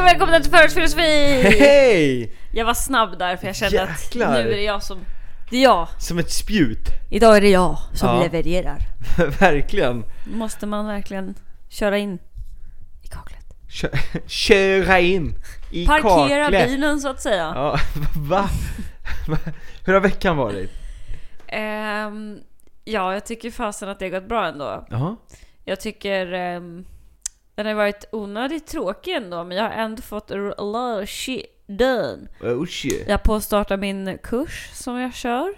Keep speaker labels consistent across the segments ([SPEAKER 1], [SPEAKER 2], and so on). [SPEAKER 1] och välkomna till Förortsfilosofi!
[SPEAKER 2] Hej!
[SPEAKER 1] Jag var snabb där för jag kände
[SPEAKER 2] Jäklar.
[SPEAKER 1] att nu är det jag som... Det är jag.
[SPEAKER 2] Som ett spjut.
[SPEAKER 1] Idag är det jag som
[SPEAKER 2] Ja.
[SPEAKER 1] levererar.
[SPEAKER 2] Verkligen.
[SPEAKER 1] Måste man verkligen köra in i kaklet?
[SPEAKER 2] Kö- Köra in i
[SPEAKER 1] Parkera
[SPEAKER 2] kaklet.
[SPEAKER 1] bilen så att säga.
[SPEAKER 2] Ja, va? Va? Hur har veckan varit?
[SPEAKER 1] Ehm, ja, jag tycker fasen att det har gått bra ändå.
[SPEAKER 2] Jaha.
[SPEAKER 1] Jag tycker... ehm, den har varit onödigt tråkig ändå, men jag har ändå fått a lot of shit done.
[SPEAKER 2] Oh shit.
[SPEAKER 1] Jag påstartar min kurs som jag kör.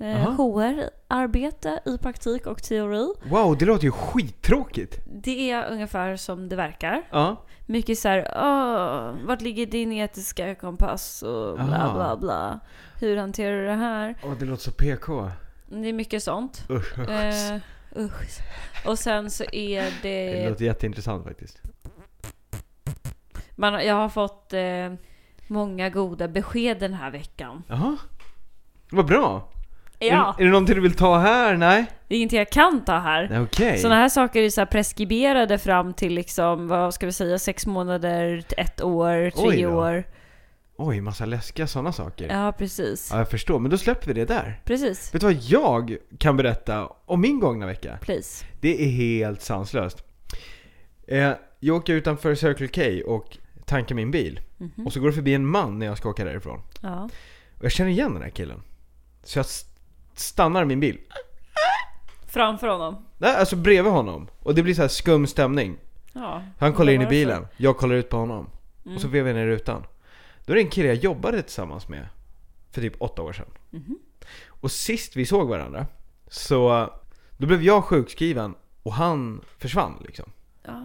[SPEAKER 1] Eh,
[SPEAKER 2] Aha.
[SPEAKER 1] HR-arbete i praktik och teori.
[SPEAKER 2] Wow, det låter ju skittråkigt.
[SPEAKER 1] Det är ungefär som det verkar.
[SPEAKER 2] Ja.
[SPEAKER 1] Mycket så här, "Åh, vart ligger din etiska kompass och bla
[SPEAKER 2] Aha.
[SPEAKER 1] bla bla. Hur hanterar du det här?
[SPEAKER 2] Åh, det låter så PK.
[SPEAKER 1] Det är mycket sånt.
[SPEAKER 2] Usch, usch.
[SPEAKER 1] Eh, usch. Och sen så är
[SPEAKER 2] Det
[SPEAKER 1] det...
[SPEAKER 2] låter jätteintressant faktiskt.
[SPEAKER 1] Man, har- jag har fått eh, många goda besked den här veckan.
[SPEAKER 2] Jaha. Vad bra.
[SPEAKER 1] Ja,
[SPEAKER 2] Är, är det någonting du vill ta här? Nej?
[SPEAKER 1] det är ingenting jag kan ta här.
[SPEAKER 2] Nej, okej.
[SPEAKER 1] Sådana här saker är så här preskriberade fram till liksom, vad ska vi säga, sex månader, ett år,
[SPEAKER 2] Oj
[SPEAKER 1] tre
[SPEAKER 2] då.
[SPEAKER 1] år.
[SPEAKER 2] Oj, massa läskiga sådana saker.
[SPEAKER 1] Ja, precis.
[SPEAKER 2] ja, jag förstår. Men då släpper vi det där.
[SPEAKER 1] Precis.
[SPEAKER 2] Vet du vad jag kan berätta om min gångna vecka?
[SPEAKER 1] Please.
[SPEAKER 2] Det är helt sanslöst. Eh, jag åker utanför Circle K och tankar min bil.
[SPEAKER 1] Mhm.
[SPEAKER 2] Och så går det förbi en man när jag ska åka därifrån.
[SPEAKER 1] Ja.
[SPEAKER 2] Och jag känner igen den här killen. Så jag st- stannar min bil.
[SPEAKER 1] Framför honom.
[SPEAKER 2] Nej, alltså bredvid honom. Och det blir så här skum stämning.
[SPEAKER 1] Ja.
[SPEAKER 2] Han kollar
[SPEAKER 1] Vad
[SPEAKER 2] in i
[SPEAKER 1] var det för- Mm.
[SPEAKER 2] bilen, jag kollar ut på honom. Och så vevar jag ner rutan. Då är det en kille jag jobbade tillsammans med för typ åtta år sedan.
[SPEAKER 1] Mhm.
[SPEAKER 2] Och sist vi såg varandra, så då blev jag sjukskriven och han försvann liksom.
[SPEAKER 1] Ja,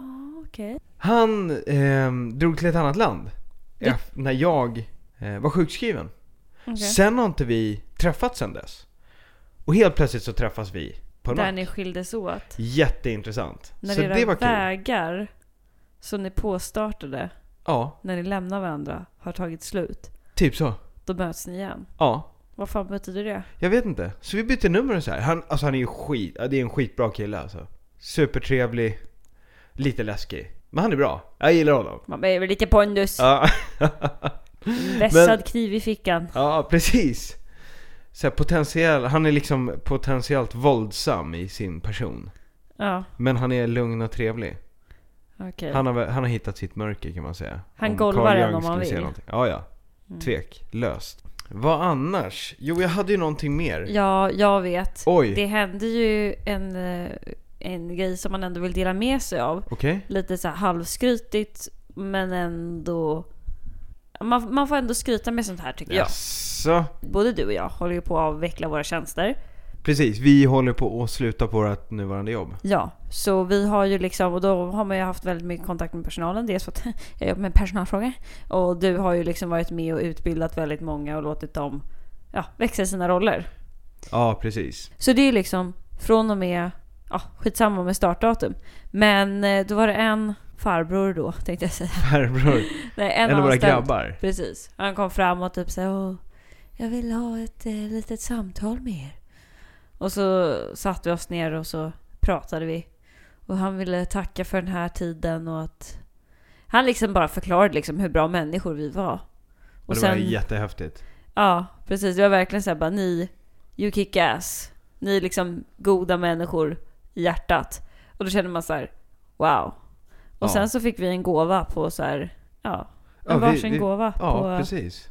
[SPEAKER 1] okej.
[SPEAKER 2] Han ehm, drog till ett annat land ef- när jag eh, var sjukskriven.
[SPEAKER 1] Okej.
[SPEAKER 2] Sen har inte vi träffats sen dess. Och helt plötsligt så träffas vi på en
[SPEAKER 1] Där
[SPEAKER 2] match.
[SPEAKER 1] ni skildes åt.
[SPEAKER 2] Jätteintressant.
[SPEAKER 1] När
[SPEAKER 2] så
[SPEAKER 1] era
[SPEAKER 2] det var kul.
[SPEAKER 1] vägar som ni påstartade
[SPEAKER 2] Ja,
[SPEAKER 1] när ni lämnar varandra har tagit slut,
[SPEAKER 2] typ så.
[SPEAKER 1] då möts ni igen.
[SPEAKER 2] Ja.
[SPEAKER 1] Vad fan betyder det?
[SPEAKER 2] Jag vet inte. Så vi bytte nummer och så här. Han, alltså han är ju skit, ja, det är en skitbra kille alltså. Supertrevlig, lite läskig. Men han är bra. Jag gillar honom.
[SPEAKER 1] Man behöver lite pondus.
[SPEAKER 2] Ja,
[SPEAKER 1] Vässad kniv i fickan.
[SPEAKER 2] ja precis. Så här, potentiell, han är liksom potentiellt våldsam i sin person.
[SPEAKER 1] Ja,
[SPEAKER 2] Men han är lugn och trevlig.
[SPEAKER 1] okej.
[SPEAKER 2] Han har, väl- han har hittat sitt mörker kan man säga.
[SPEAKER 1] Han golvar
[SPEAKER 2] Carl
[SPEAKER 1] en
[SPEAKER 2] Jung
[SPEAKER 1] om han
[SPEAKER 2] skulle
[SPEAKER 1] vill. Mm.
[SPEAKER 2] säga någonting. Ja, ja. Tvek. Löst. Vad annars? Jo, jag hade ju någonting mer.
[SPEAKER 1] Ja, jag vet.
[SPEAKER 2] Oj.
[SPEAKER 1] Det hände ju en, eh, en grej som man ändå vill dela med sig av.
[SPEAKER 2] Okej.
[SPEAKER 1] Lite så här halvskrytigt, men ändå... Man, man får ändå skryta med sånt här tycker
[SPEAKER 2] Jaså?
[SPEAKER 1] jag. Både du och jag håller ju på att avveckla våra tjänster.
[SPEAKER 2] Precis, vi håller på att sluta på vårt nuvarande jobb.
[SPEAKER 1] Ja, så vi har ju liksom, och då har man ju haft väldigt mycket kontakt med personalen. Dels för att jag jobbar med personalfrågor. Och du har ju liksom varit med och utbildat väldigt många och låtit dem ja, växa i sina roller.
[SPEAKER 2] Ja, precis.
[SPEAKER 1] Så det är liksom från och med, ja skitsamma med startdatum. Men eh, då var det en farbror då tänkte jag säga.
[SPEAKER 2] Farbror.
[SPEAKER 1] Nej, en,
[SPEAKER 2] En, av våra
[SPEAKER 1] anställd.
[SPEAKER 2] grabbar.
[SPEAKER 1] Precis. Han kom fram och typ såhär, Åh, jag vill ha ett eh, litet samtal med er. Och så satte vi oss ner och så pratade vi. Och han ville tacka för den här tiden och att han liksom bara förklarade liksom hur bra människor vi var.
[SPEAKER 2] Och det var jättehäftigt.
[SPEAKER 1] Ja, precis. Det var verkligen såhär bara ni, you kick ass. Ni är liksom goda människor i hjärtat. Och då kände man så här: wow. Och
[SPEAKER 2] Ja.
[SPEAKER 1] sen så fick vi en gåva på så här, ja, en
[SPEAKER 2] Ja, vi-
[SPEAKER 1] varsin
[SPEAKER 2] vi-
[SPEAKER 1] gåva
[SPEAKER 2] Ja,
[SPEAKER 1] på,
[SPEAKER 2] precis.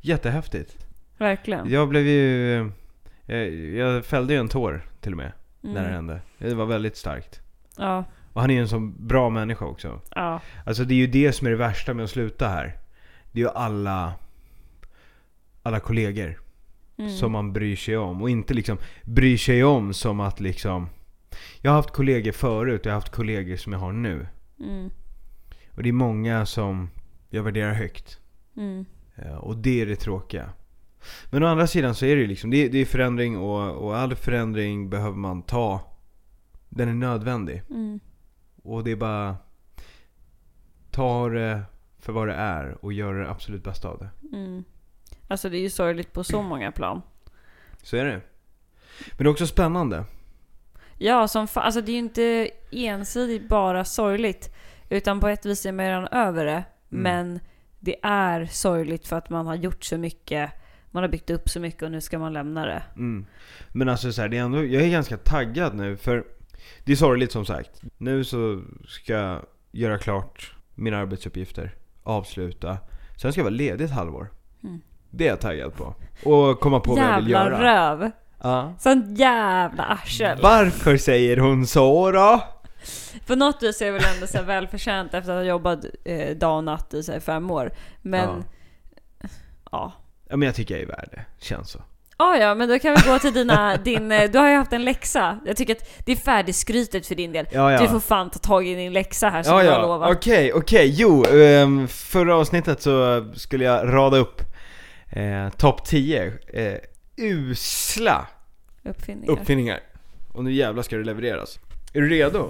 [SPEAKER 2] Jättehäftigt.
[SPEAKER 1] verkligen.
[SPEAKER 2] Jag blev ju... eh, Jag fällde ju en tår till och med, när det
[SPEAKER 1] Mm.
[SPEAKER 2] hände. Det var väldigt starkt.
[SPEAKER 1] Ja,
[SPEAKER 2] Och han är ju en sån bra människa också.
[SPEAKER 1] ja,
[SPEAKER 2] Alltså det är ju det som är det värsta med att sluta här. Det är ju alla... Alla kollegor.
[SPEAKER 1] Mm.
[SPEAKER 2] som man bryr sig om. Och inte liksom bryr sig om som att liksom... Jag har haft kollegor förut och jag har haft kollegor som jag har nu.
[SPEAKER 1] mm,
[SPEAKER 2] Och det är många som jag värderar högt.
[SPEAKER 1] mm,
[SPEAKER 2] Eh, Och det är det tråkiga. Men å andra sidan så är det ju liksom, det är, det är förändring och, och all förändring behöver man ta. Den är nödvändig.
[SPEAKER 1] mm.
[SPEAKER 2] Och det är bara... Ta det för vad det är och gör det absolut bästa av det.
[SPEAKER 1] Mm. Alltså det är ju sorgligt på så många plan.
[SPEAKER 2] Så är det. Men det är också spännande.
[SPEAKER 1] Ja, som fa-
[SPEAKER 2] Mm.
[SPEAKER 1] alltså det är ju inte ensidigt bara sorgligt. Utan på ett vis är man ju redan över det. Men det är sorgligt för att man har gjort så mycket. Man har byggt upp så mycket och nu ska man lämna det.
[SPEAKER 2] Mm. Men alltså så här, det är ändå, jag är ganska taggad nu för det är sorgligt som sagt. Nu så ska jag göra klart mina arbetsuppgifter, avsluta. Sen ska jag vara ledig ett halvår.
[SPEAKER 1] Mm.
[SPEAKER 2] Det är jag taggad på. Och komma på vad jag vill
[SPEAKER 1] jävla
[SPEAKER 2] göra.
[SPEAKER 1] röv!
[SPEAKER 2] Ja.
[SPEAKER 1] Sånt jävla arsel!
[SPEAKER 2] Varför säger hon så då?
[SPEAKER 1] På något vis är jag väl ändå så här välförtjänt efter att ha jobbat eh, dag och natt i så här fem år. Men ja.
[SPEAKER 2] Ja men jag tycker jag är värd det, känns så.
[SPEAKER 1] Ja, ja, men då kan vi gå till dina, din, eh, du har ju haft en läxa. Jag tycker att det är färdigskrytet för din del.
[SPEAKER 2] Ja, ja.
[SPEAKER 1] Du får fan ta tag i din läxa här som
[SPEAKER 2] Ja,
[SPEAKER 1] du har
[SPEAKER 2] ja.
[SPEAKER 1] lovat.
[SPEAKER 2] Okej, okej. Jo, ehm, förra avsnittet så skulle jag rada upp eh, topp 10 eh, usla
[SPEAKER 1] Uppfinningar.
[SPEAKER 2] uppfinningar. Och nu jävlar ska det levereras. Är du redo?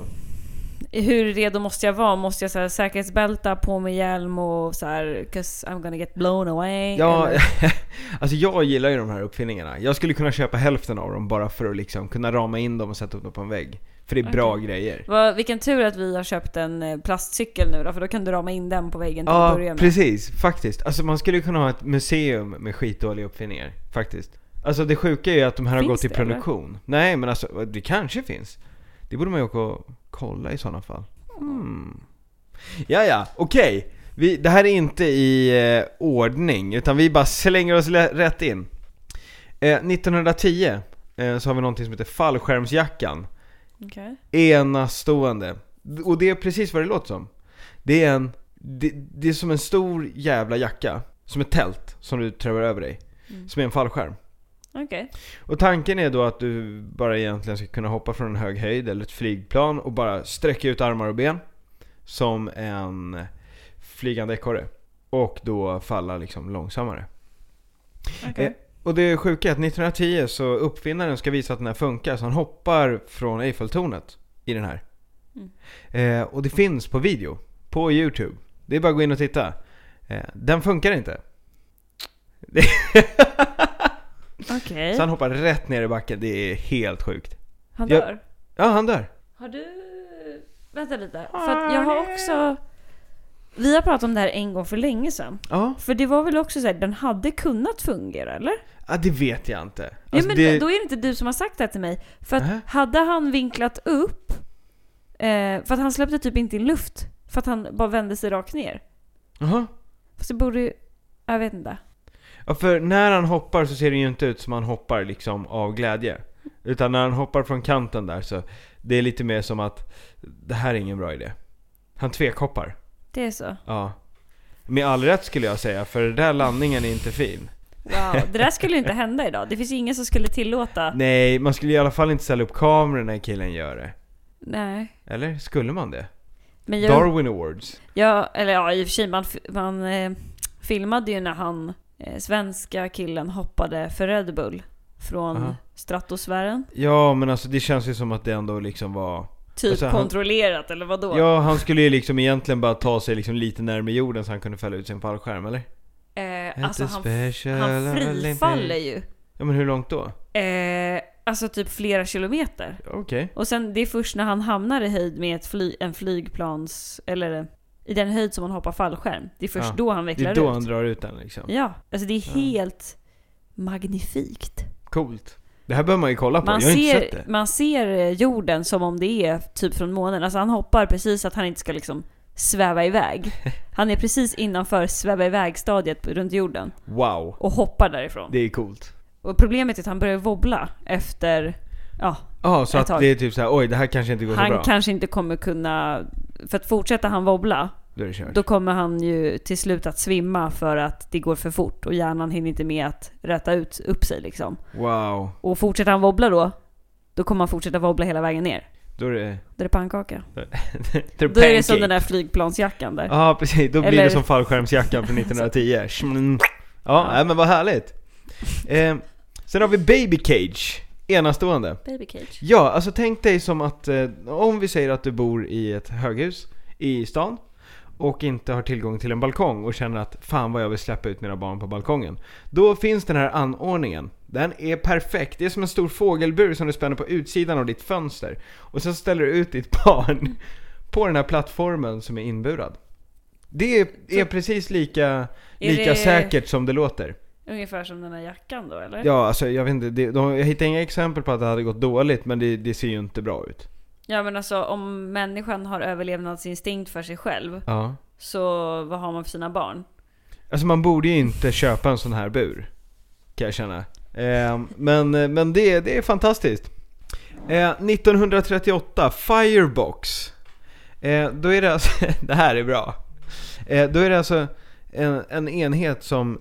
[SPEAKER 1] Hur redo måste jag vara? Måste jag så här, säkerhetsbälta, på mig hjälm och så här, 'cause I'm gonna get blown away?
[SPEAKER 2] Ja,
[SPEAKER 1] eller?
[SPEAKER 2] alltså jag gillar ju de här uppfinningarna. Jag skulle kunna köpa hälften av dem bara för att liksom kunna rama in dem och sätta upp dem på en vägg. För det är bra grejer.
[SPEAKER 1] Vad, vilken tur att vi har köpt en eh, plastcykel nu då, för då kan du rama in den på väggen till att
[SPEAKER 2] Ja,
[SPEAKER 1] börja med.
[SPEAKER 2] precis. Faktiskt. Alltså man skulle kunna ha ett museum med skitdåliga uppfinningar. Faktiskt. Alltså det sjuka är ju att de här
[SPEAKER 1] Finns
[SPEAKER 2] har gått i
[SPEAKER 1] det, eller?
[SPEAKER 2] produktion. Nej, men alltså det kanske finns. Det borde man ju åka och kolla i sådana fall. Hmm. Ja, ja, okej. Vi- Det här är inte i eh, ordning, utan vi bara slänger oss lä- rätt in. Eh, 1910 eh, så har vi någonting som heter fallskärmsjackan
[SPEAKER 1] Okej.
[SPEAKER 2] enastående. Och det är precis vad det låter som. Det är en, det, det är som en stor jävla jacka, som ett tält som du trävar över dig.
[SPEAKER 1] Mm.
[SPEAKER 2] Som är en fallskärm.
[SPEAKER 1] Okej.
[SPEAKER 2] Och tanken är då att du bara egentligen ska kunna hoppa från en hög höjd eller ett flygplan och bara sträcka ut armar och ben. Som en flygande ekorre. Och då falla liksom långsammare.
[SPEAKER 1] okej.
[SPEAKER 2] Eh, och det sjuka är att 1910 så uppfinnaren ska visa att den här funkar så han hoppar från Eiffeltornet i den här.
[SPEAKER 1] Mm.
[SPEAKER 2] Eh, och det finns på video, på Youtube. Det är bara att gå in och titta. Eh, den funkar inte.
[SPEAKER 1] Okej.
[SPEAKER 2] Så
[SPEAKER 1] Eh.
[SPEAKER 2] han hoppar rätt ner i backen, det är helt sjukt.
[SPEAKER 1] Han
[SPEAKER 2] jag-
[SPEAKER 1] dör.
[SPEAKER 2] Ja, han dör.
[SPEAKER 1] Har du... Vänta lite. För att jag har också... Vi har pratat om det här en gång för länge sedan.
[SPEAKER 2] Ja,
[SPEAKER 1] För det var väl också så här, den hade kunnat fungera eller?
[SPEAKER 2] ah, det vet jag inte.
[SPEAKER 1] ja,
[SPEAKER 2] Alltså,
[SPEAKER 1] men
[SPEAKER 2] det- Äh?
[SPEAKER 1] då är det inte du som har sagt det här till mig. För att
[SPEAKER 2] Nähä.
[SPEAKER 1] hade han vinklat upp... Eh, för att han släppte typ inte in luft. För att han bara vände sig rakt ner.
[SPEAKER 2] Jaha.
[SPEAKER 1] Fast det borde ju... Jag vet inte.
[SPEAKER 2] Ja, för när han hoppar så ser det ju inte ut som han hoppar liksom av glädje. Utan när han hoppar från kanten där så, det är lite mer som att det här är ingen bra idé. Han tvekhoppar.
[SPEAKER 1] Det är så.
[SPEAKER 2] Ja. Med all rätt skulle jag säga, för den där landningen är inte fin.
[SPEAKER 1] Wow. Det där skulle ju inte hända idag. Det finns ju ingen som skulle tillåta...
[SPEAKER 2] Nej, man skulle i alla fall inte ställa upp kameran när killen gör det.
[SPEAKER 1] Nej.
[SPEAKER 2] Eller? Skulle man det?
[SPEAKER 1] Men jag...
[SPEAKER 2] Darwin Awards?
[SPEAKER 1] Ja, eller ja, i och för sig, man, f- man eh, filmade ju när han, eh, svenska killen, hoppade för Red Bull från
[SPEAKER 2] Aha.
[SPEAKER 1] stratosfären.
[SPEAKER 2] Ja, men alltså det känns ju som att det ändå liksom var...
[SPEAKER 1] Typ
[SPEAKER 2] Alltså, han-
[SPEAKER 1] kontrollerat, eller vadå?
[SPEAKER 2] Ja, han skulle ju liksom egentligen bara ta sig liksom lite närmare jorden så han kunde fälla ut sin fallskärm, eller?
[SPEAKER 1] eh, alltså
[SPEAKER 2] Inte
[SPEAKER 1] han,
[SPEAKER 2] special
[SPEAKER 1] han
[SPEAKER 2] Olympics.
[SPEAKER 1] frifaller ju.
[SPEAKER 2] Ja, men hur långt då?
[SPEAKER 1] Eh, alltså typ flera kilometer.
[SPEAKER 2] Okej.
[SPEAKER 1] Och sen det är först när han hamnar i höjd med ett fly, en flygplans, eller i den höjd som han hoppar fallskärm. Det är först
[SPEAKER 2] Ja,
[SPEAKER 1] då han
[SPEAKER 2] Det
[SPEAKER 1] vecklar
[SPEAKER 2] är då
[SPEAKER 1] ut.
[SPEAKER 2] han drar ut den liksom.
[SPEAKER 1] Ja, alltså det är
[SPEAKER 2] Ja.
[SPEAKER 1] helt magnifikt.
[SPEAKER 2] Coolt. Det här behöver man ju kolla på,
[SPEAKER 1] Man
[SPEAKER 2] jag har inte sett
[SPEAKER 1] ser,
[SPEAKER 2] det.
[SPEAKER 1] man ser eh, jorden som om det är typ från månen. Alltså han hoppar precis att han inte ska liksom sväva iväg. Han är precis innanför sväva iväg-stadiet på- runt jorden
[SPEAKER 2] Wow.
[SPEAKER 1] och hoppar därifrån.
[SPEAKER 2] Det är coolt.
[SPEAKER 1] Och problemet är att han börjar wobbla efter... Ja,
[SPEAKER 2] Ja, så
[SPEAKER 1] Ett
[SPEAKER 2] att
[SPEAKER 1] tag.
[SPEAKER 2] det är typ så här, oj det här kanske inte går så
[SPEAKER 1] han
[SPEAKER 2] bra.
[SPEAKER 1] kanske inte kommer kunna... För att fortsätta han wobbla,
[SPEAKER 2] Då är det kört.
[SPEAKER 1] då kommer han ju till slut att svimma för att det går för fort och hjärnan hinner inte med att räta ut upp sig liksom.
[SPEAKER 2] Wow.
[SPEAKER 1] Och fortsätter han wobbla då, då kommer han fortsätta wobbla hela vägen ner.
[SPEAKER 2] Då är det...
[SPEAKER 1] Då är det pannkaka.
[SPEAKER 2] Då
[SPEAKER 1] Då är det som den där flygplansjackan där.
[SPEAKER 2] Ja precis, då blir
[SPEAKER 1] Eller-
[SPEAKER 2] det som fallskärmsjackan från 1910. Schmn. ja, nej, men vad härligt. Eh, sen har vi Baby Cage, enastående.
[SPEAKER 1] Baby cage.
[SPEAKER 2] Ja, alltså tänk dig som att eh, om vi säger att du bor i ett höghus i stan och inte har tillgång till en balkong och känner att fan vad jag vill släppa ut mina barn på balkongen. Då finns den här anordningen. Den är perfekt. Det är som en stor fågelbur som du spänner på utsidan av ditt fönster. Och sen ställer du ut ditt barn på den här plattformen som är inburad. Det är, är precis lika,
[SPEAKER 1] Är
[SPEAKER 2] lika
[SPEAKER 1] det-
[SPEAKER 2] säkert som det låter.
[SPEAKER 1] Ungefär som den här jackan då eller?
[SPEAKER 2] Ja, alltså jag vet inte. Det, de, jag hittar inga exempel på att det hade gått dåligt, men det, det ser ju inte bra ut.
[SPEAKER 1] ja men alltså om människan har överlevnadsinstinkt för sig själv.
[SPEAKER 2] Ja.
[SPEAKER 1] Så vad har man för sina barn?
[SPEAKER 2] Alltså man borde ju inte köpa en sån här bur. Kan jag känna. Eh, men men det, det är fantastiskt. Eh, 1938, Firebox. Eh, då är det alltså, det här är bra. Eh, då är det alltså en, en enhet som,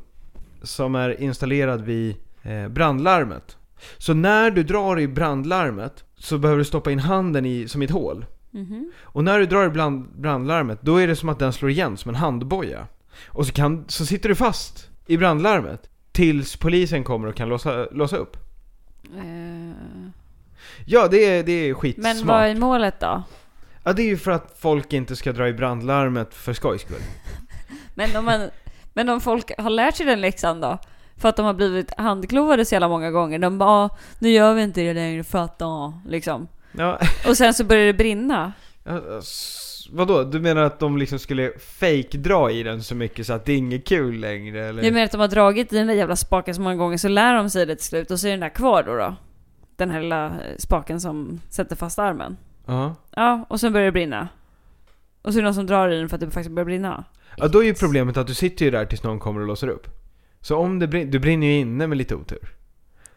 [SPEAKER 2] som är installerad vid eh, brandlarmet. Så när du drar i brandlarmet så behöver du stoppa in handen i, som i ett hål.
[SPEAKER 1] Mhm.
[SPEAKER 2] Och när du drar i brand, brandlarmet, då är det som att den slår igen som en handboja. Och så, kan, så sitter du fast i brandlarmet. Tills polisen kommer och kan låsa, låsa upp.
[SPEAKER 1] Eh,
[SPEAKER 2] Ja, det är, det är skitsmart.
[SPEAKER 1] Men vad är målet då?
[SPEAKER 2] Ja, det är ju för att folk inte ska dra i brandlarmet för skojs skull.
[SPEAKER 1] Men om, man, men om folk har lärt sig den läxan då? För att de har blivit handklovade så jävla många gånger. De bara "Ah, nu gör vi inte det längre för att då, liksom.
[SPEAKER 2] Ja, alltså,
[SPEAKER 1] Och sen så börjar det brinna.
[SPEAKER 2] s- vadå? Du menar att de liksom skulle fake dra i den så mycket så att det är inget kul längre eller?
[SPEAKER 1] Jag menar att de har dragit i den där jävla spaken så många gånger så lär de sig det till slut och så är den där kvar då. då. Den här lilla eh, spaken som sätter fast armen.
[SPEAKER 2] Ja.
[SPEAKER 1] Ja, och sen börjar det brinna. Och så är det någon som drar i den för att det faktiskt börjar brinna.
[SPEAKER 2] ja, då är ju problemet att du sitter ju där tills någon kommer och låser upp. Så om det brinner, du brinner ju inne med lite otur.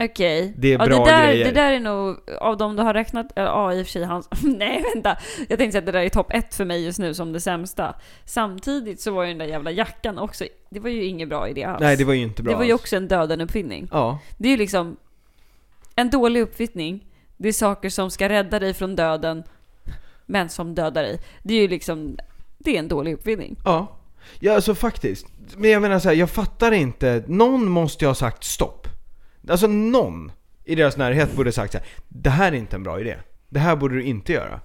[SPEAKER 1] Okej.
[SPEAKER 2] Det är
[SPEAKER 1] ja,
[SPEAKER 2] bra
[SPEAKER 1] det där,
[SPEAKER 2] grejer.
[SPEAKER 1] Det där är nog, av de du har räknat, eller ja i och för sig hans, nej vänta. Jag tänkte säga att det där är topp ett för mig just nu som det sämsta. Samtidigt så var ju den där jävla jackan också, det var ju ingen bra idé alls.
[SPEAKER 2] Nej, det var ju inte bra
[SPEAKER 1] Det var ju
[SPEAKER 2] alls.
[SPEAKER 1] också en döden-uppfinning.
[SPEAKER 2] Ja.
[SPEAKER 1] Det är ju liksom, en dålig uppfinning, det är saker som ska rädda dig från döden, men som dödar dig. Det är ju liksom, det är en dålig uppfinning.
[SPEAKER 2] Ja. Ja, alltså faktiskt. Men jag menar så här, jag fattar inte. Någon måste ju ha sagt stopp. Alltså någon i deras närhet borde ha sagt så här. Det här är inte en bra idé. Det här borde du inte göra.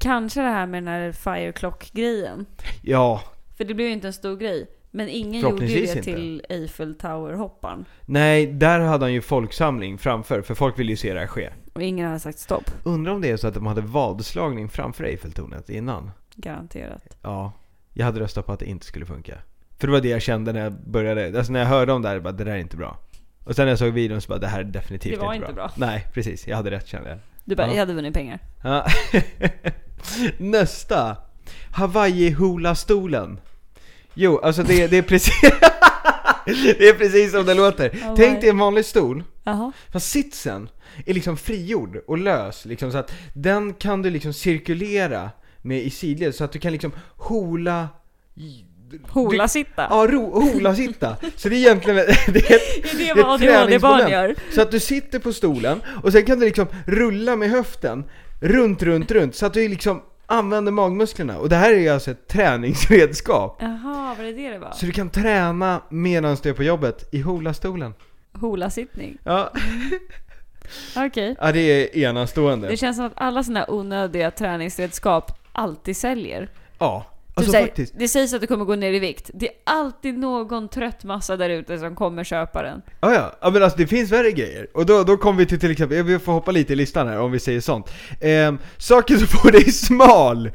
[SPEAKER 1] Kanske det här med den här fire clock-grejen.
[SPEAKER 2] Ja,
[SPEAKER 1] För det blev ju inte en stor grej. Men ingen gjorde ju
[SPEAKER 2] Förhoppningsvis
[SPEAKER 1] det
[SPEAKER 2] inte.
[SPEAKER 1] till Eiffel Tower-hopparen.
[SPEAKER 2] nej, där hade han ju folksamling framför, för folk ville ju se det här ske.
[SPEAKER 1] Och ingen hade sagt stopp.
[SPEAKER 2] Undrar om det är så att de hade vadslagning framför Eiffeltornet innan?
[SPEAKER 1] Garanterat.
[SPEAKER 2] Ja, jag hade röstat på att det inte skulle funka. För det var det jag kände när jag började, alltså när jag hörde om det här, jag bara, det där är inte bra. Och sen när jag såg videon så bara, det här är definitivt
[SPEAKER 1] Det var inte
[SPEAKER 2] bra. Nej, precis. Jag hade rätt kände jag.
[SPEAKER 1] Du bara,
[SPEAKER 2] Ja.
[SPEAKER 1] jag hade vunnit pengar.
[SPEAKER 2] Ja. Nästa! Hawaii-hula-stolen. Jo, alltså det, det är precis... det är precis som det låter.
[SPEAKER 1] Hawaii.
[SPEAKER 2] Tänk dig en vanlig stol,
[SPEAKER 1] Jaha.
[SPEAKER 2] fast sitsen är liksom frigjord och lös liksom så att den kan du liksom cirkulera med i sidled så att du kan liksom hola...
[SPEAKER 1] Hola sitta.
[SPEAKER 2] Ja, ro, hola sitta. Så det är egentligen det är ett
[SPEAKER 1] det är
[SPEAKER 2] det
[SPEAKER 1] det
[SPEAKER 2] är ett
[SPEAKER 1] vad ADHD-barn
[SPEAKER 2] träningsmoment.
[SPEAKER 1] gör.
[SPEAKER 2] så att du sitter på stolen och sen kan du liksom rulla med höften runt, runt, runt så att du liksom använder magmusklerna. Och det här är ju alltså ett träningsredskap.
[SPEAKER 1] Jaha, var det det det var?
[SPEAKER 2] Så du kan träna medan du är på jobbet i holastolen.
[SPEAKER 1] Hola-sittning.
[SPEAKER 2] Ja,
[SPEAKER 1] Okej.
[SPEAKER 2] ja det är enastående.
[SPEAKER 1] Det känns som att alla sådana här onödiga träningsredskap alltid säljer. Typ
[SPEAKER 2] Ja, alltså
[SPEAKER 1] så här,
[SPEAKER 2] faktiskt.
[SPEAKER 1] Det sägs att du kommer gå ner i vikt. Det är alltid någon trött massa där ute som kommer köpa den.
[SPEAKER 2] Ja, ja. ja, men alltså det finns värre grejer. Och då, då kommer vi till till exempel, vi får hoppa lite i listan här om vi säger sånt. Ehm, saker som får dig smal!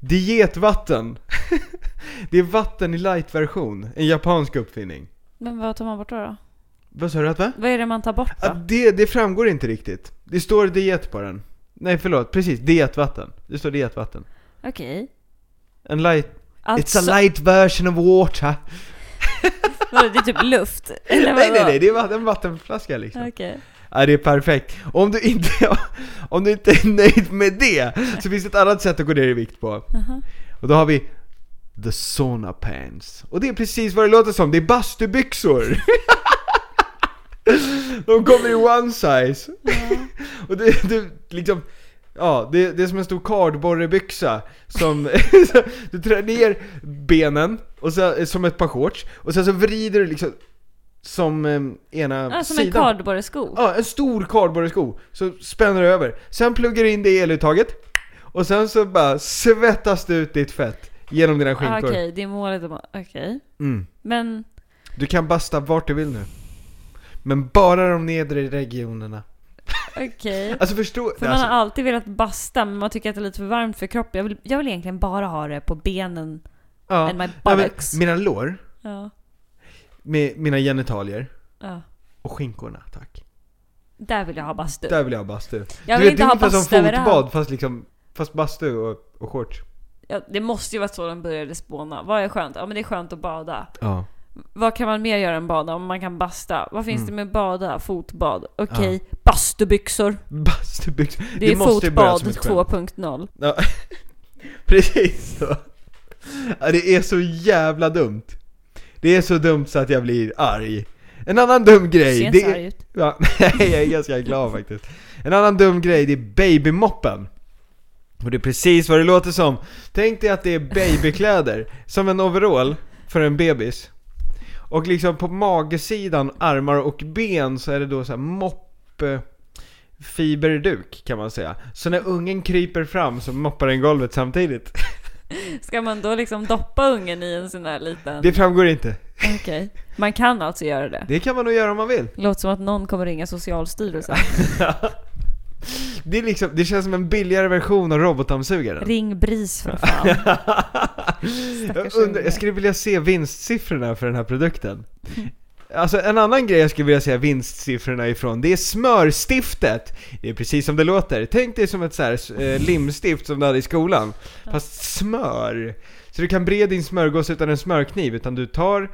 [SPEAKER 2] Dietvatten. det är vatten i light-version, en japansk uppfinning.
[SPEAKER 1] Men vad tar man bort då? då?
[SPEAKER 2] Vad sa du att va?
[SPEAKER 1] Vad är det man tar bort
[SPEAKER 2] Ja,
[SPEAKER 1] då?
[SPEAKER 2] det, det framgår inte riktigt. Det står diet på den. Nej förlåt, precis, dietvatten. Det står dietvatten.
[SPEAKER 1] Okej.
[SPEAKER 2] En light,
[SPEAKER 1] Alltså,
[SPEAKER 2] it's a light version of water.
[SPEAKER 1] vadå, det är typ luft? Eller
[SPEAKER 2] Nej nej
[SPEAKER 1] vadå?
[SPEAKER 2] nej, det är vatten- en vattenflaska liksom.
[SPEAKER 1] Okej.
[SPEAKER 2] Ja, det är perfekt. Om du, inte, om du inte är nöjd med det så finns det ett annat sätt att gå ner i vikt på.
[SPEAKER 1] Aha.
[SPEAKER 2] Och då har vi The Sauna Pants. Och det är precis vad det låter som, det är bastubyxor! De kommer i one size. Och du, du liksom, ja det, det är som en stor kardborrebyxa som, du trär ner benen, och så, som ett par shorts, och sen så vrider du liksom som em, ena
[SPEAKER 1] Ah, som en
[SPEAKER 2] sidan.
[SPEAKER 1] kardborresko?
[SPEAKER 2] Ja, en stor kardborresko. Så spänner du över. Sen pluggar du in det i eluttaget. Och sen så bara svettas det ut ditt fett genom dina
[SPEAKER 1] Ah,
[SPEAKER 2] skinkor.
[SPEAKER 1] Okej, det är målet. om- Okej.
[SPEAKER 2] Mm.
[SPEAKER 1] Men
[SPEAKER 2] Du kan basta vart du vill nu. Men bara de nedre regionerna.
[SPEAKER 1] okej.
[SPEAKER 2] Alltså förstå...
[SPEAKER 1] För man
[SPEAKER 2] alltså,
[SPEAKER 1] har alltid velat basta men man tycker att det är lite för varmt för kroppen. Jag vill, jag vill egentligen bara ha det på benen
[SPEAKER 2] Ja.
[SPEAKER 1] and my
[SPEAKER 2] Nej, men
[SPEAKER 1] buttocks.
[SPEAKER 2] mina lår,
[SPEAKER 1] Ja.
[SPEAKER 2] med mina genitalier
[SPEAKER 1] ja.
[SPEAKER 2] och skinkorna, tack.
[SPEAKER 1] Där vill jag ha bastu.
[SPEAKER 2] Där vill jag ha bastu.
[SPEAKER 1] jag
[SPEAKER 2] du
[SPEAKER 1] vill
[SPEAKER 2] vet,
[SPEAKER 1] inte
[SPEAKER 2] det är
[SPEAKER 1] ha
[SPEAKER 2] ungefär som
[SPEAKER 1] bastu överallt.
[SPEAKER 2] fotbad fast, liksom, fast bastu och, och shorts.
[SPEAKER 1] Ja, det måste ju vara så de började spåna. Vad är skönt? Ja men det är skönt att bada.
[SPEAKER 2] Ja.
[SPEAKER 1] Vad kan man mer göra än bada? Om man kan basta. Vad finns
[SPEAKER 2] Mm.
[SPEAKER 1] det med bada? Fotbad? Okej, bastubyxor.
[SPEAKER 2] Bastubyxor.
[SPEAKER 1] Det, är
[SPEAKER 2] måste ju börja
[SPEAKER 1] fotbad
[SPEAKER 2] som ett skämt.
[SPEAKER 1] 2.0.
[SPEAKER 2] Ja, precis så. Ja, det är så jävla dumt. Det är så dumt så att jag blir arg. En annan dum
[SPEAKER 1] Ser
[SPEAKER 2] grej,
[SPEAKER 1] inte
[SPEAKER 2] det
[SPEAKER 1] så här
[SPEAKER 2] är...
[SPEAKER 1] ut.
[SPEAKER 2] Ja, nej, jag är ganska glad faktiskt. En annan dum grej, det är babymoppen. Och det är precis vad det låter som. Tänk dig att det är babykläder, som en overall för en bebis. Och liksom på magesidan, armar och ben så är det då så här mopp... eh, Fiberduk kan man säga. Så när ungen kryper fram så moppar den golvet samtidigt.
[SPEAKER 1] Ska man då liksom doppa ungen i en sån här liten...
[SPEAKER 2] Det framgår inte.
[SPEAKER 1] Okej. Man kan alltså göra det.
[SPEAKER 2] Det kan man nog göra om man vill.
[SPEAKER 1] Låter som att någon kommer ringa Socialstyrelsen.
[SPEAKER 2] Det, är liksom, det känns som en billigare version av robotdammsugaren.
[SPEAKER 1] Ring BRIS för fan.
[SPEAKER 2] jag,
[SPEAKER 1] Stackars
[SPEAKER 2] undrar,
[SPEAKER 1] unge.
[SPEAKER 2] jag skulle vilja se vinstsiffrorna för den här produkten. Alltså en annan grej jag skulle vilja se vinstsiffrorna ifrån, det är smörstiftet! Det är precis som det låter. Tänk dig som ett så här, eh, limstift som du hade i skolan, fast smör. Så du kan bre din smörgås utan en smörkniv, utan du tar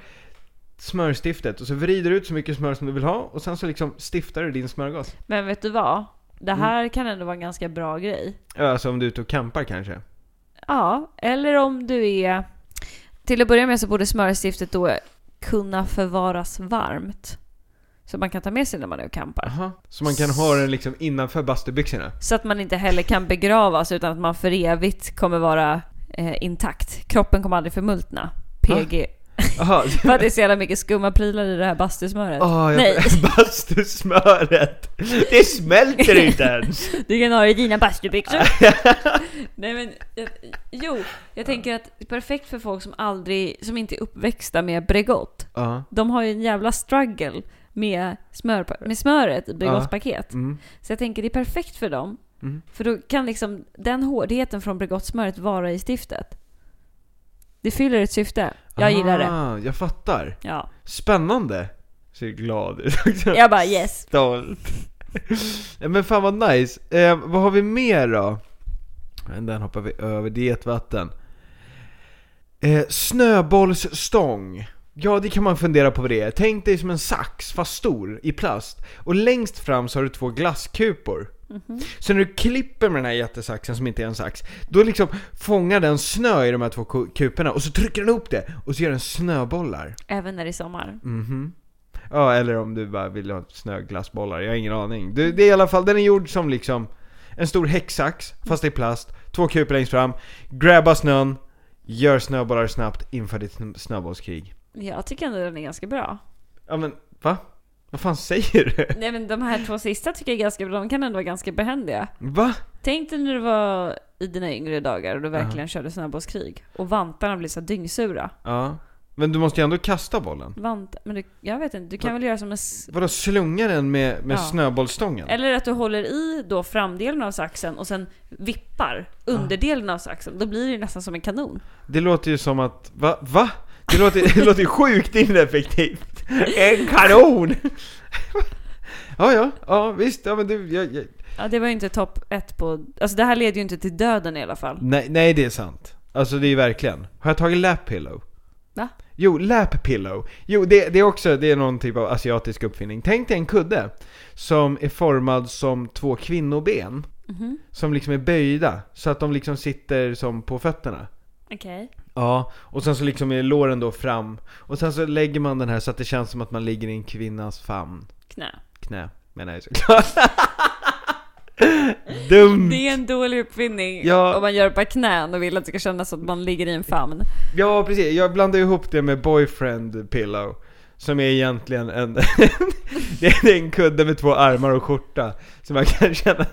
[SPEAKER 2] smörstiftet och så vrider du ut så mycket smör som du vill ha och sen så liksom stiftar du din smörgås.
[SPEAKER 1] Men vet du vad? Det
[SPEAKER 2] Mm.
[SPEAKER 1] här kan ändå vara en ganska bra grej.
[SPEAKER 2] Ja, Alltså om du är ute och campar kanske.
[SPEAKER 1] Ja, eller om du är... Till att börja med så borde smörstiftet då kunna förvaras varmt. Så man kan ta med sig när man är och campar.
[SPEAKER 2] Aha. Så man kan ha den liksom innanför bastubyxorna.
[SPEAKER 1] Så att man inte heller kan begravas utan att man för evigt kommer vara eh, intakt. Kroppen kommer aldrig förmultna. PG.
[SPEAKER 2] Aha.
[SPEAKER 1] För att det är så jävla mycket skumma prylar i det här bastusmöret.
[SPEAKER 2] Ah, jag-
[SPEAKER 1] Nej.
[SPEAKER 2] Bastusmöret! Det smälter inte ens!
[SPEAKER 1] Du kan ha det i dina bastubyxor. Nej men, jag, jo, jag tänker att det är perfekt för folk som aldrig, som inte är uppväxta med Bregott.
[SPEAKER 2] Ja,
[SPEAKER 1] De har ju en jävla struggle med, smör, med smöret i Bregottpaket.
[SPEAKER 2] mm.
[SPEAKER 1] Så jag tänker det är perfekt för dem.
[SPEAKER 2] Mm.
[SPEAKER 1] För då kan liksom den hårdheten från Bregottsmöret vara i stiftet. Det fyller ett syfte. Jag gillar det.
[SPEAKER 2] Ah, jag fattar.
[SPEAKER 1] Ja.
[SPEAKER 2] Spännande! Ser glad ut också.
[SPEAKER 1] Jag bara yes.
[SPEAKER 2] Stolt. Ja, Men fan vad nice. Eh, vad har vi mer då? Men Den hoppar vi över, dietvatten. Eh, snöbollsstång. Ja, det kan man fundera på vad det är. Tänk dig som en sax, fast stor, i plast. Och längst fram så har du två glasskupor.
[SPEAKER 1] Mhm.
[SPEAKER 2] Så när du klipper med den här jättesaxen som inte är en sax, då liksom fångar den snö i de här två ku- kuporna och så trycker den upp det och så gör den snöbollar.
[SPEAKER 1] Även när det är sommar.
[SPEAKER 2] Mhm. Ja, eller om du bara vill ha snöglassbollar, jag har ingen aning. Du, det är i alla fall, den är gjord som liksom en stor häcksax, fast i plast, två kupor längst fram, grabba snön, gör snöbollar snabbt inför ditt sn- snöbollskrig.
[SPEAKER 1] Jag tycker ändå den är ganska bra.
[SPEAKER 2] Ja men, va? Vad fan säger du?
[SPEAKER 1] Nej men de här två sista tycker jag är ganska bra. De kan ändå vara ganska behändiga.
[SPEAKER 2] Va?
[SPEAKER 1] Tänk dig när du var i dina yngre dagar och du verkligen körde snöbollskrig. Och vantarna blev så här dyngsura.
[SPEAKER 2] Ja. Men du måste ju ändå kasta bollen.
[SPEAKER 1] Vant, men du, jag vet inte, du kan väl göra som en... s-
[SPEAKER 2] Vadå, slunga den med, med
[SPEAKER 1] Ja.
[SPEAKER 2] snöbollstången?
[SPEAKER 1] Eller att du håller i då framdelen av saxen och sen vippar underdelen av saxen. Då blir det ju nästan som en kanon.
[SPEAKER 2] Det låter ju som att, va? va? Det låter, det låter ju sjukt ineffektivt! En kanon! ja, ja, ja visst, ja men du, jag, jag...
[SPEAKER 1] Ja, det var ju inte topp ett på... Alltså det här leder ju inte till döden i alla fall.
[SPEAKER 2] Nej, nej det är sant. Alltså det är ju verkligen. Har jag tagit lap pillow?
[SPEAKER 1] Va?
[SPEAKER 2] Jo, lap pillow. Jo, det, det är också, det är någon typ av asiatisk uppfinning. Tänk dig en kudde som är formad som två kvinnoben.
[SPEAKER 1] Mhm.
[SPEAKER 2] Som liksom är böjda, så att de liksom sitter som på fötterna.
[SPEAKER 1] Okej.
[SPEAKER 2] Ja, och sen så liksom är låren då fram. Och sen så lägger man den här så att det känns som att man ligger i en kvinnas famn.
[SPEAKER 1] Knä.
[SPEAKER 2] Knä, menar jag såklart. Dum!
[SPEAKER 1] Det är en dålig uppfinning
[SPEAKER 2] Ja.
[SPEAKER 1] om man gör det på knän och vill att det ska kännas som att man ligger i en famn.
[SPEAKER 2] Ja, precis. Jag blandar ihop det med boyfriend pillow. Som är egentligen en... det är en kudde med två armar och skjorta. Som man kan känna...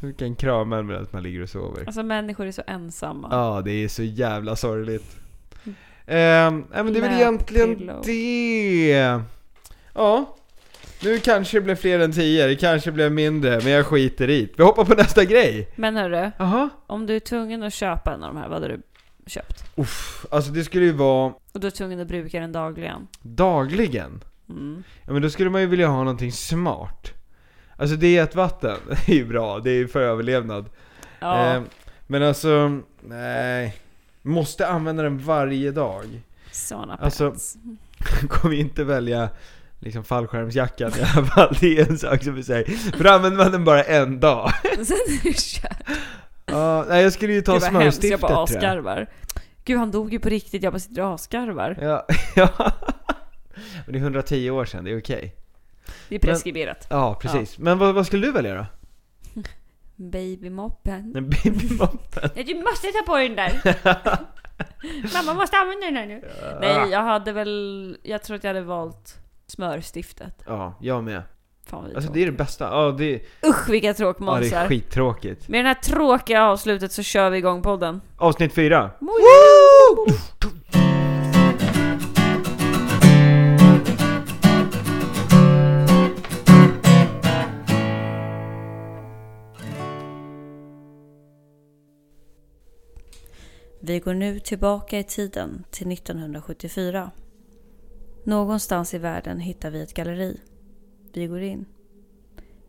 [SPEAKER 2] Man kan krama en medan man ligger och sover.
[SPEAKER 1] Alltså människor är så ensamma.
[SPEAKER 2] Ja, det är så jävla sorgligt. Ehm, nej, men det är väl
[SPEAKER 1] Lap
[SPEAKER 2] egentligen
[SPEAKER 1] Mm. pillow.
[SPEAKER 2] det. Ja. Nu kanske det blev fler än tio, det kanske blev mindre, men jag skiter i det. Vi hoppar på nästa grej.
[SPEAKER 1] Men hörru,
[SPEAKER 2] Jaha?
[SPEAKER 1] om du är tvungen att köpa en av de här, vad hade du köpt.
[SPEAKER 2] Uff, alltså det skulle ju vara
[SPEAKER 1] Och du är tvungen att bruka den dagligen.
[SPEAKER 2] dagligen.
[SPEAKER 1] Mm.
[SPEAKER 2] Ja men då skulle man ju vilja ha någonting smart. Alltså dietvatten, det är ju bra, det är ju för överlevnad.
[SPEAKER 1] Ja.
[SPEAKER 2] Eh, men alltså, nej. Måste använda den varje dag.
[SPEAKER 1] Såna
[SPEAKER 2] alltså-
[SPEAKER 1] pants.
[SPEAKER 2] Kommer ju inte välja liksom fallskärmsjackan i alla fall, det är en sak som vi säger. För då använder man den bara en dag.
[SPEAKER 1] Sen är det kört.
[SPEAKER 2] Ja, nej jag skulle ju ta
[SPEAKER 1] Gud vad hemskt,
[SPEAKER 2] smörstiftet
[SPEAKER 1] jag bara
[SPEAKER 2] tror jag.
[SPEAKER 1] asgarvar. Gud han dog ju på riktigt, jag bara sitter och asgarvar.
[SPEAKER 2] Ja, ja. Men det är 110 år sedan, det är okej.
[SPEAKER 1] Det är preskriberat.
[SPEAKER 2] Ja, precis. Men vad, vad skulle du välja då?
[SPEAKER 1] Babymoppen.
[SPEAKER 2] En babymoppen?
[SPEAKER 1] Nej, du måste ta på dig den där! Mamma måste använda den här nu. Nej, jag hade väl... Jag tror att jag hade valt smörstiftet.
[SPEAKER 2] Ja, jag med.
[SPEAKER 1] Fan vad vi
[SPEAKER 2] Alltså
[SPEAKER 1] är
[SPEAKER 2] det är det bästa. Ja, det,
[SPEAKER 1] tråkiga. Usch vilka
[SPEAKER 2] ja, det
[SPEAKER 1] tråkmånsar.
[SPEAKER 2] är skittråkigt.
[SPEAKER 1] Med det här tråkiga avslutet så kör vi igång podden.
[SPEAKER 2] Avsnitt fyra.
[SPEAKER 1] Woo! Vi går nu tillbaka i tiden till 1974. Någonstans i världen hittar vi ett galleri. Vi går in.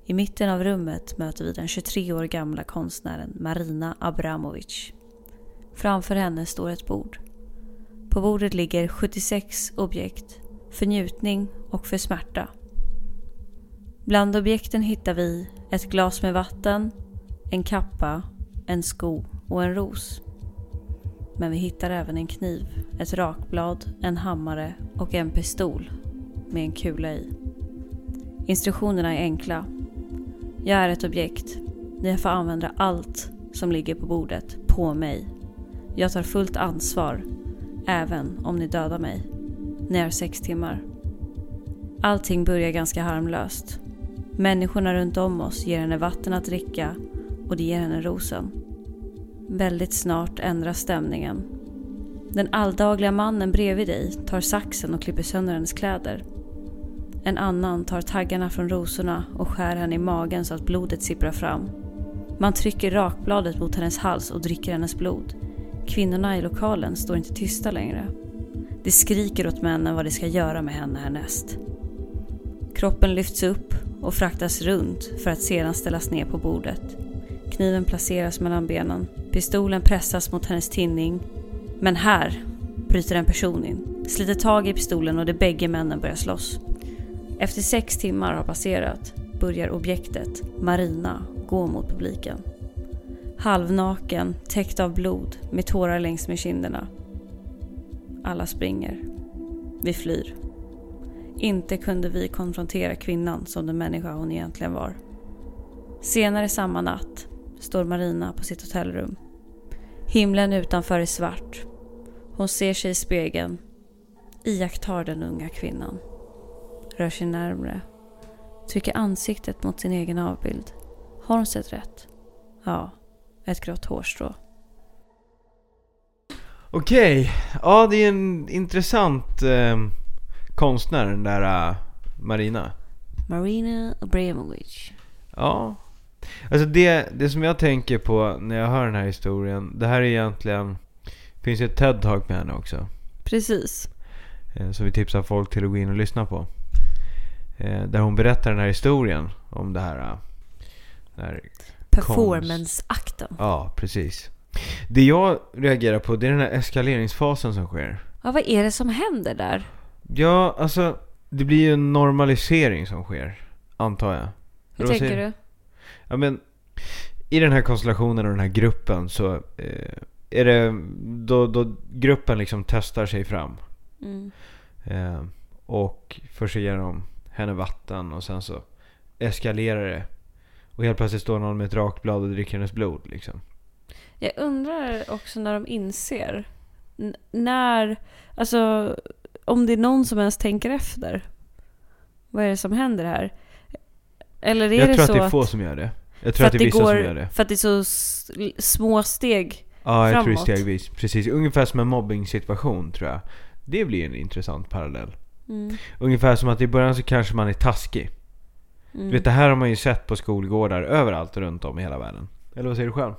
[SPEAKER 1] I mitten av rummet möter vi den 23 år gamla konstnären Marina Abramovic. Framför henne står ett bord. På bordet ligger 76 objekt för njutning och för smärta. Bland objekten hittar vi ett glas med vatten, en kappa, en sko och en ros. Men vi hittar även en kniv, ett rakblad, en hammare och en pistol med en kula i. Instruktionerna är enkla. Jag är ett objekt. Ni får använda allt som ligger på bordet på mig. Jag tar fullt ansvar, även om ni dödar mig. Ni har sex timmar. Allting börjar ganska harmlöst. Människorna runt om oss ger henne vatten att dricka och det ger henne rosen. Väldigt snart ändras stämningen. Den alldagliga mannen bredvid dig tar saxen och klipper sönder hennes kläder. En annan tar taggarna från rosorna och skär henne i magen så att blodet sipprar fram. Man trycker rakbladet mot hennes hals och dricker hennes blod. Kvinnorna i lokalen står inte tysta längre. De skriker åt männen vad de ska göra med henne härnäst. Kroppen lyfts upp och fraktas runt för att sedan ställas ner på bordet. Kniven placeras mellan benen. Pistolen pressas mot hennes tinning. Men här bryter en person in, sliter tag i pistolen och de bägge männen börjar slåss. Efter sex timmar har passerat börjar objektet, Marina, gå mot publiken. Halvnaken, täckt av blod, med tårar längs med kinderna. Alla springer. Vi flyr. Inte kunde vi konfrontera kvinnan som den människa hon egentligen var. Senare samma natt står Marina på sitt hotellrum. Himlen utanför är svart. Hon ser sig i spegeln, iakttar den unga kvinnan rör sig närmre. Trycker ansiktet mot sin egen avbild. Har hon sett rätt? Ja, ett grått hårstrå.
[SPEAKER 2] Okej, ja det är en intressant eh, konstnär den där eh, Marina.
[SPEAKER 1] Marina Abramovic.
[SPEAKER 2] Ja. Alltså det, det som jag tänker på när jag hör den här historien, det här är egentligen... finns ju ett TED-talk med henne också.
[SPEAKER 1] Precis.
[SPEAKER 2] Eh, Så vi tipsar folk till att gå in och lyssna på. Eh, Där hon berättar den här historien om det här. eh, Det här
[SPEAKER 1] Performanceakten.
[SPEAKER 2] ja, precis. Det jag reagerar på det är den här eskaleringsfasen som sker.
[SPEAKER 1] Ja, vad är det som händer där?
[SPEAKER 2] Ja, alltså det blir ju en normalisering som sker. Antar jag.
[SPEAKER 1] Hur
[SPEAKER 2] Eller vad
[SPEAKER 1] tänker
[SPEAKER 2] säger
[SPEAKER 1] du?
[SPEAKER 2] Ja men, i den här konstellationen och den här gruppen så eh, är det då, då gruppen liksom testar sig fram.
[SPEAKER 1] Mm.
[SPEAKER 2] Eh, och först så ger de henne vatten och sen så eskalerar det. Och helt plötsligt står någon med ett rakblad och dricker hennes blod liksom.
[SPEAKER 1] Jag undrar också när de inser. N- när, alltså om det är någon som ens tänker efter. Vad är det som händer här? Eller är
[SPEAKER 2] Jag
[SPEAKER 1] det
[SPEAKER 2] tror att
[SPEAKER 1] så
[SPEAKER 2] det är få som gör det. Jag tror att det är vissa som gör det.
[SPEAKER 1] För att det är så s- små steg.
[SPEAKER 2] Ja, jag tror det
[SPEAKER 1] framåt.
[SPEAKER 2] är stegvis. Precis, ungefär som en mobbing-situation tror jag. Det blir en intressant parallell. Ungefär som att i början så kanske man är taskig.
[SPEAKER 1] Mm.
[SPEAKER 2] Du vet, det här har man ju sett på skolgårdar överallt runt om i hela världen. Eller vad säger du själv?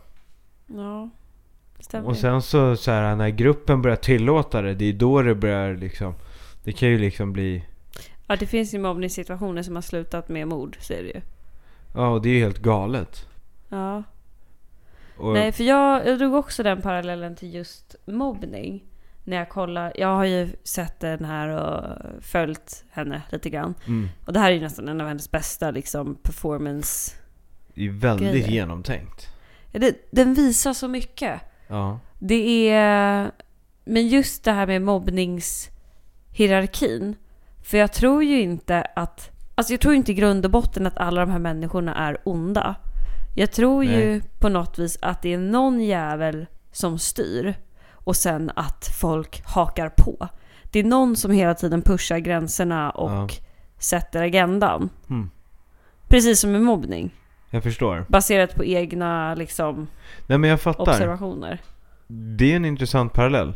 [SPEAKER 1] Ja. stämmer.
[SPEAKER 2] Och sen så, så här, när gruppen börjar tillåta det, det är då det börjar liksom... Det kan ju liksom bli...
[SPEAKER 1] Ja, det finns ju mobbningssituationer som har slutat med mord, så är det ju.
[SPEAKER 2] Ja, och det är ju helt galet.
[SPEAKER 1] Ja.
[SPEAKER 2] Och,
[SPEAKER 1] Nej, för jag, jag drog också den parallellen till just mobbning. När jag kollar, jag har ju sett den här och följt henne lite grann.
[SPEAKER 2] Mm,
[SPEAKER 1] Och det här är ju nästan en av hennes bästa liksom performance.
[SPEAKER 2] det är väldigt
[SPEAKER 1] Grejer.
[SPEAKER 2] genomtänkt.
[SPEAKER 1] Det, den visar så mycket.
[SPEAKER 2] Ja.
[SPEAKER 1] Det är... Men just det här med mobbningshierarkin. För jag tror ju inte att... Alltså jag tror inte i grund och botten att alla de här människorna är onda. Jag tror ju
[SPEAKER 2] Nej.
[SPEAKER 1] på något vis att det är någon jävel som styr. Och sen att folk hakar på. Det är någon som hela tiden pushar gränserna och
[SPEAKER 2] Ja.
[SPEAKER 1] sätter agendan.
[SPEAKER 2] Mm.
[SPEAKER 1] Precis som med mobbning.
[SPEAKER 2] Jag förstår.
[SPEAKER 1] Baserat på egna liksom,
[SPEAKER 2] Nej men jag fattar.
[SPEAKER 1] observationer.
[SPEAKER 2] Det är en intressant parallell.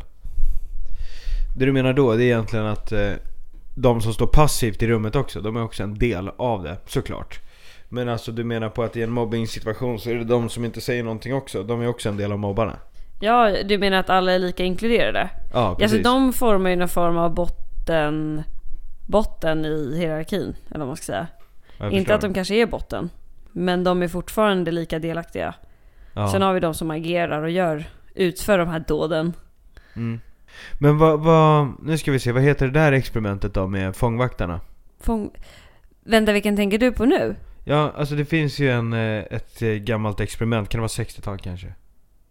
[SPEAKER 2] Det du menar då, det är egentligen att eh, de som står passivt i rummet också, de är också en del av det, såklart. Men alltså du menar på att i en mobbningssituation så är det de som inte säger någonting också, de är också en del av mobbarna.
[SPEAKER 1] Ja, du menar att alla är lika inkluderade?
[SPEAKER 2] Ja,
[SPEAKER 1] Alltså
[SPEAKER 2] precis.
[SPEAKER 1] de formar ju någon form av botten, botten i hierarkin. Eller vad man ska säga.
[SPEAKER 2] Jag
[SPEAKER 1] Inte
[SPEAKER 2] förstår.
[SPEAKER 1] att de kanske är botten. Men de är fortfarande lika delaktiga.
[SPEAKER 2] Ja.
[SPEAKER 1] Sen har vi de som agerar och gör, utför de här dåden.
[SPEAKER 2] Mm. Men vad, vad, nu ska vi se, vad heter det där experimentet då med fångvaktarna?
[SPEAKER 1] Fång... Vänta, vilken tänker du på nu?
[SPEAKER 2] Ja, alltså det finns ju en, eh, ett eh, gammalt experiment, kan det vara 60-tal kanske?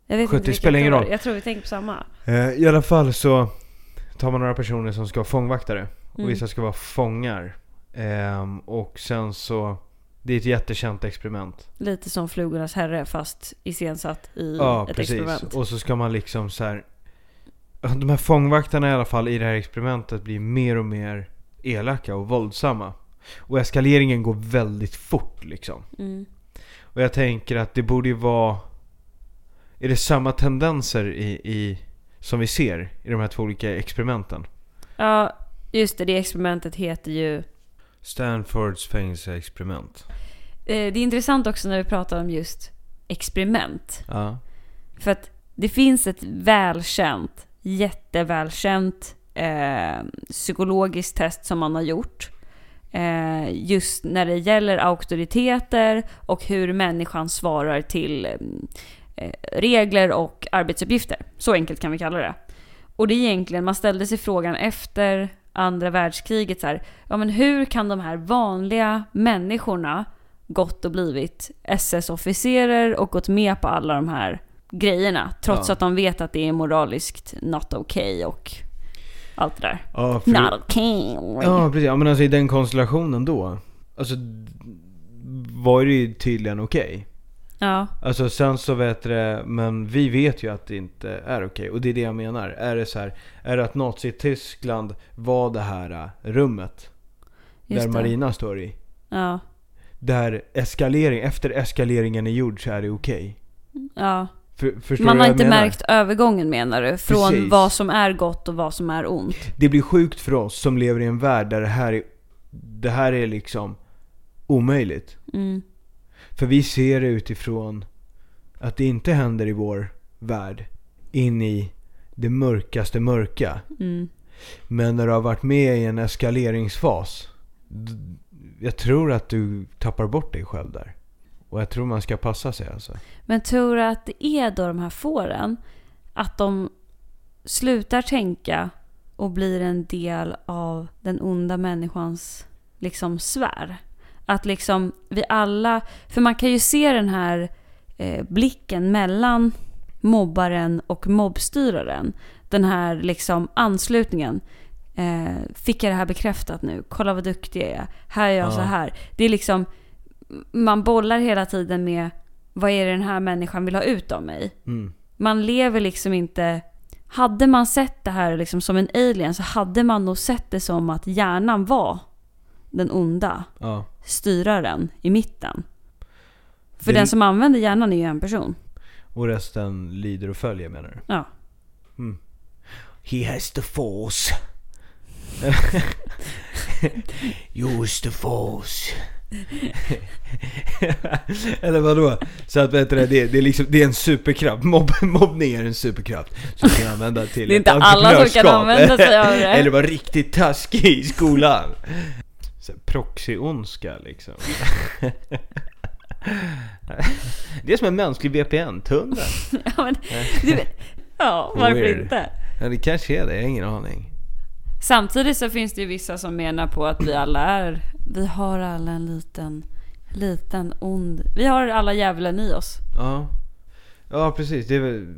[SPEAKER 1] Jag vet
[SPEAKER 2] Sjuttio,
[SPEAKER 1] vilket
[SPEAKER 2] spelar ingen
[SPEAKER 1] det var.
[SPEAKER 2] roll.
[SPEAKER 1] Jag tror vi tänker på samma.
[SPEAKER 2] Eh, I alla fall så tar man några personer som ska vara fångvaktare.
[SPEAKER 1] Mm.
[SPEAKER 2] Och vissa ska vara fångar. Ehm, och sen så... Det är ett jättekänt experiment.
[SPEAKER 1] Lite som Flugornas Herre fast iscensatt i
[SPEAKER 2] ja,
[SPEAKER 1] Mm, ett
[SPEAKER 2] precis.
[SPEAKER 1] experiment.
[SPEAKER 2] Och så ska man liksom så här. De här fångvaktarna i alla fall i det här experimentet blir mer och mer elaka och våldsamma. Och eskaleringen går väldigt fort liksom.
[SPEAKER 1] Mm.
[SPEAKER 2] Och jag tänker att det borde ju vara... Är det samma tendenser i, i, som vi ser i de här två olika experimenten?
[SPEAKER 1] Ja, just det. Det experimentet heter ju
[SPEAKER 2] Stanfords fängelseexperiment.
[SPEAKER 1] Eh, Det är intressant också när vi pratar om just experiment.
[SPEAKER 2] Ja.
[SPEAKER 1] För att det finns ett välkänt, jättevälkänt eh, psykologiskt test som man har gjort. Eh, just när det gäller auktoriteter och hur människan svarar till eh, regler och arbetsuppgifter. Så enkelt kan vi kalla det. Och det är egentligen, man ställde sig frågan efter andra världskriget så här, ja men hur kan de här vanliga människorna gått och blivit SS-officerer och gått med på alla de här grejerna trots
[SPEAKER 2] Ja.
[SPEAKER 1] att de vet att det är moraliskt not okay och allt det där.
[SPEAKER 2] Ja, för,
[SPEAKER 1] Not okay.
[SPEAKER 2] ja precis. Ja, men alltså i den konstellationen då. Alltså d- var det ju tydligen okej.
[SPEAKER 1] Ja.
[SPEAKER 2] Alltså sen så vet det, men vi vet ju att det inte är okej. Och det är det jag menar. Är det så här, är det att Nazityskland var det här eh, rummet
[SPEAKER 1] Just
[SPEAKER 2] där
[SPEAKER 1] det.
[SPEAKER 2] Marina står i.
[SPEAKER 1] Ja.
[SPEAKER 2] Där eskalering, efter eskaleringen är gjord så är det okej.
[SPEAKER 1] ja.
[SPEAKER 2] För, förstår
[SPEAKER 1] Man
[SPEAKER 2] du
[SPEAKER 1] har
[SPEAKER 2] vad jag
[SPEAKER 1] inte
[SPEAKER 2] menar?
[SPEAKER 1] märkt övergången menar du? Från
[SPEAKER 2] Precis.
[SPEAKER 1] vad som är gott och vad som är ont.
[SPEAKER 2] Det blir sjukt för oss som lever i en värld där det här är, det här är liksom omöjligt.
[SPEAKER 1] Mm.
[SPEAKER 2] För vi ser det utifrån att det inte händer i vår värld. In i det mörkaste mörka.
[SPEAKER 1] Mm.
[SPEAKER 2] Men när du har varit med i en eskaleringsfas. d- Jag tror att du tappar bort dig själv där. Och jag tror man ska passa sig alltså.
[SPEAKER 1] Men tror du att det är då de här fåren, att de slutar tänka och blir en del av den onda människans liksom sfär? Att liksom vi alla, för man kan ju se den här eh, blicken mellan mobbaren och mobbstyraren. Den här liksom anslutningen. Eh, fick jag det här bekräftat nu? Kolla vad duktig jag är. Här är jag
[SPEAKER 2] Ja.
[SPEAKER 1] så här. Det är liksom, man bollar hela tiden med vad är det den här människan vill ha ut av mig?
[SPEAKER 2] Mm.
[SPEAKER 1] Man lever liksom inte... Hade man sett det här liksom som en alien så hade man nog sett det som att hjärnan var den onda
[SPEAKER 2] Ja.
[SPEAKER 1] styraren i mitten. För
[SPEAKER 2] Det-
[SPEAKER 1] den som använder hjärnan är ju en person.
[SPEAKER 2] Och resten lider och följer menar du?
[SPEAKER 1] Ja.
[SPEAKER 2] Mm. He has the force. Use the force. Eller vadå? Så att vet du, det, det, är liksom, det är en superkraft. Mobb, mobbning är en superkraft som du kan använda till
[SPEAKER 1] Det är inte
[SPEAKER 2] ett
[SPEAKER 1] alla som kan
[SPEAKER 2] entreprenörskap.
[SPEAKER 1] använda sig av det.
[SPEAKER 2] Eller vara riktigt taskig i skolan. Så här, Proxy-ondska liksom. Det är som en mänsklig VPN-tunnel.
[SPEAKER 1] ja, men, du, vet- ja, varför
[SPEAKER 2] Weird.
[SPEAKER 1] inte?
[SPEAKER 2] Ja, det kanske är det, jag har ingen aning.
[SPEAKER 1] Samtidigt så finns det ju vissa som menar på att vi alla är... Vi har alla en liten, liten ond... Vi har alla djävulen i oss.
[SPEAKER 2] Ja, ja precis. Det är väl...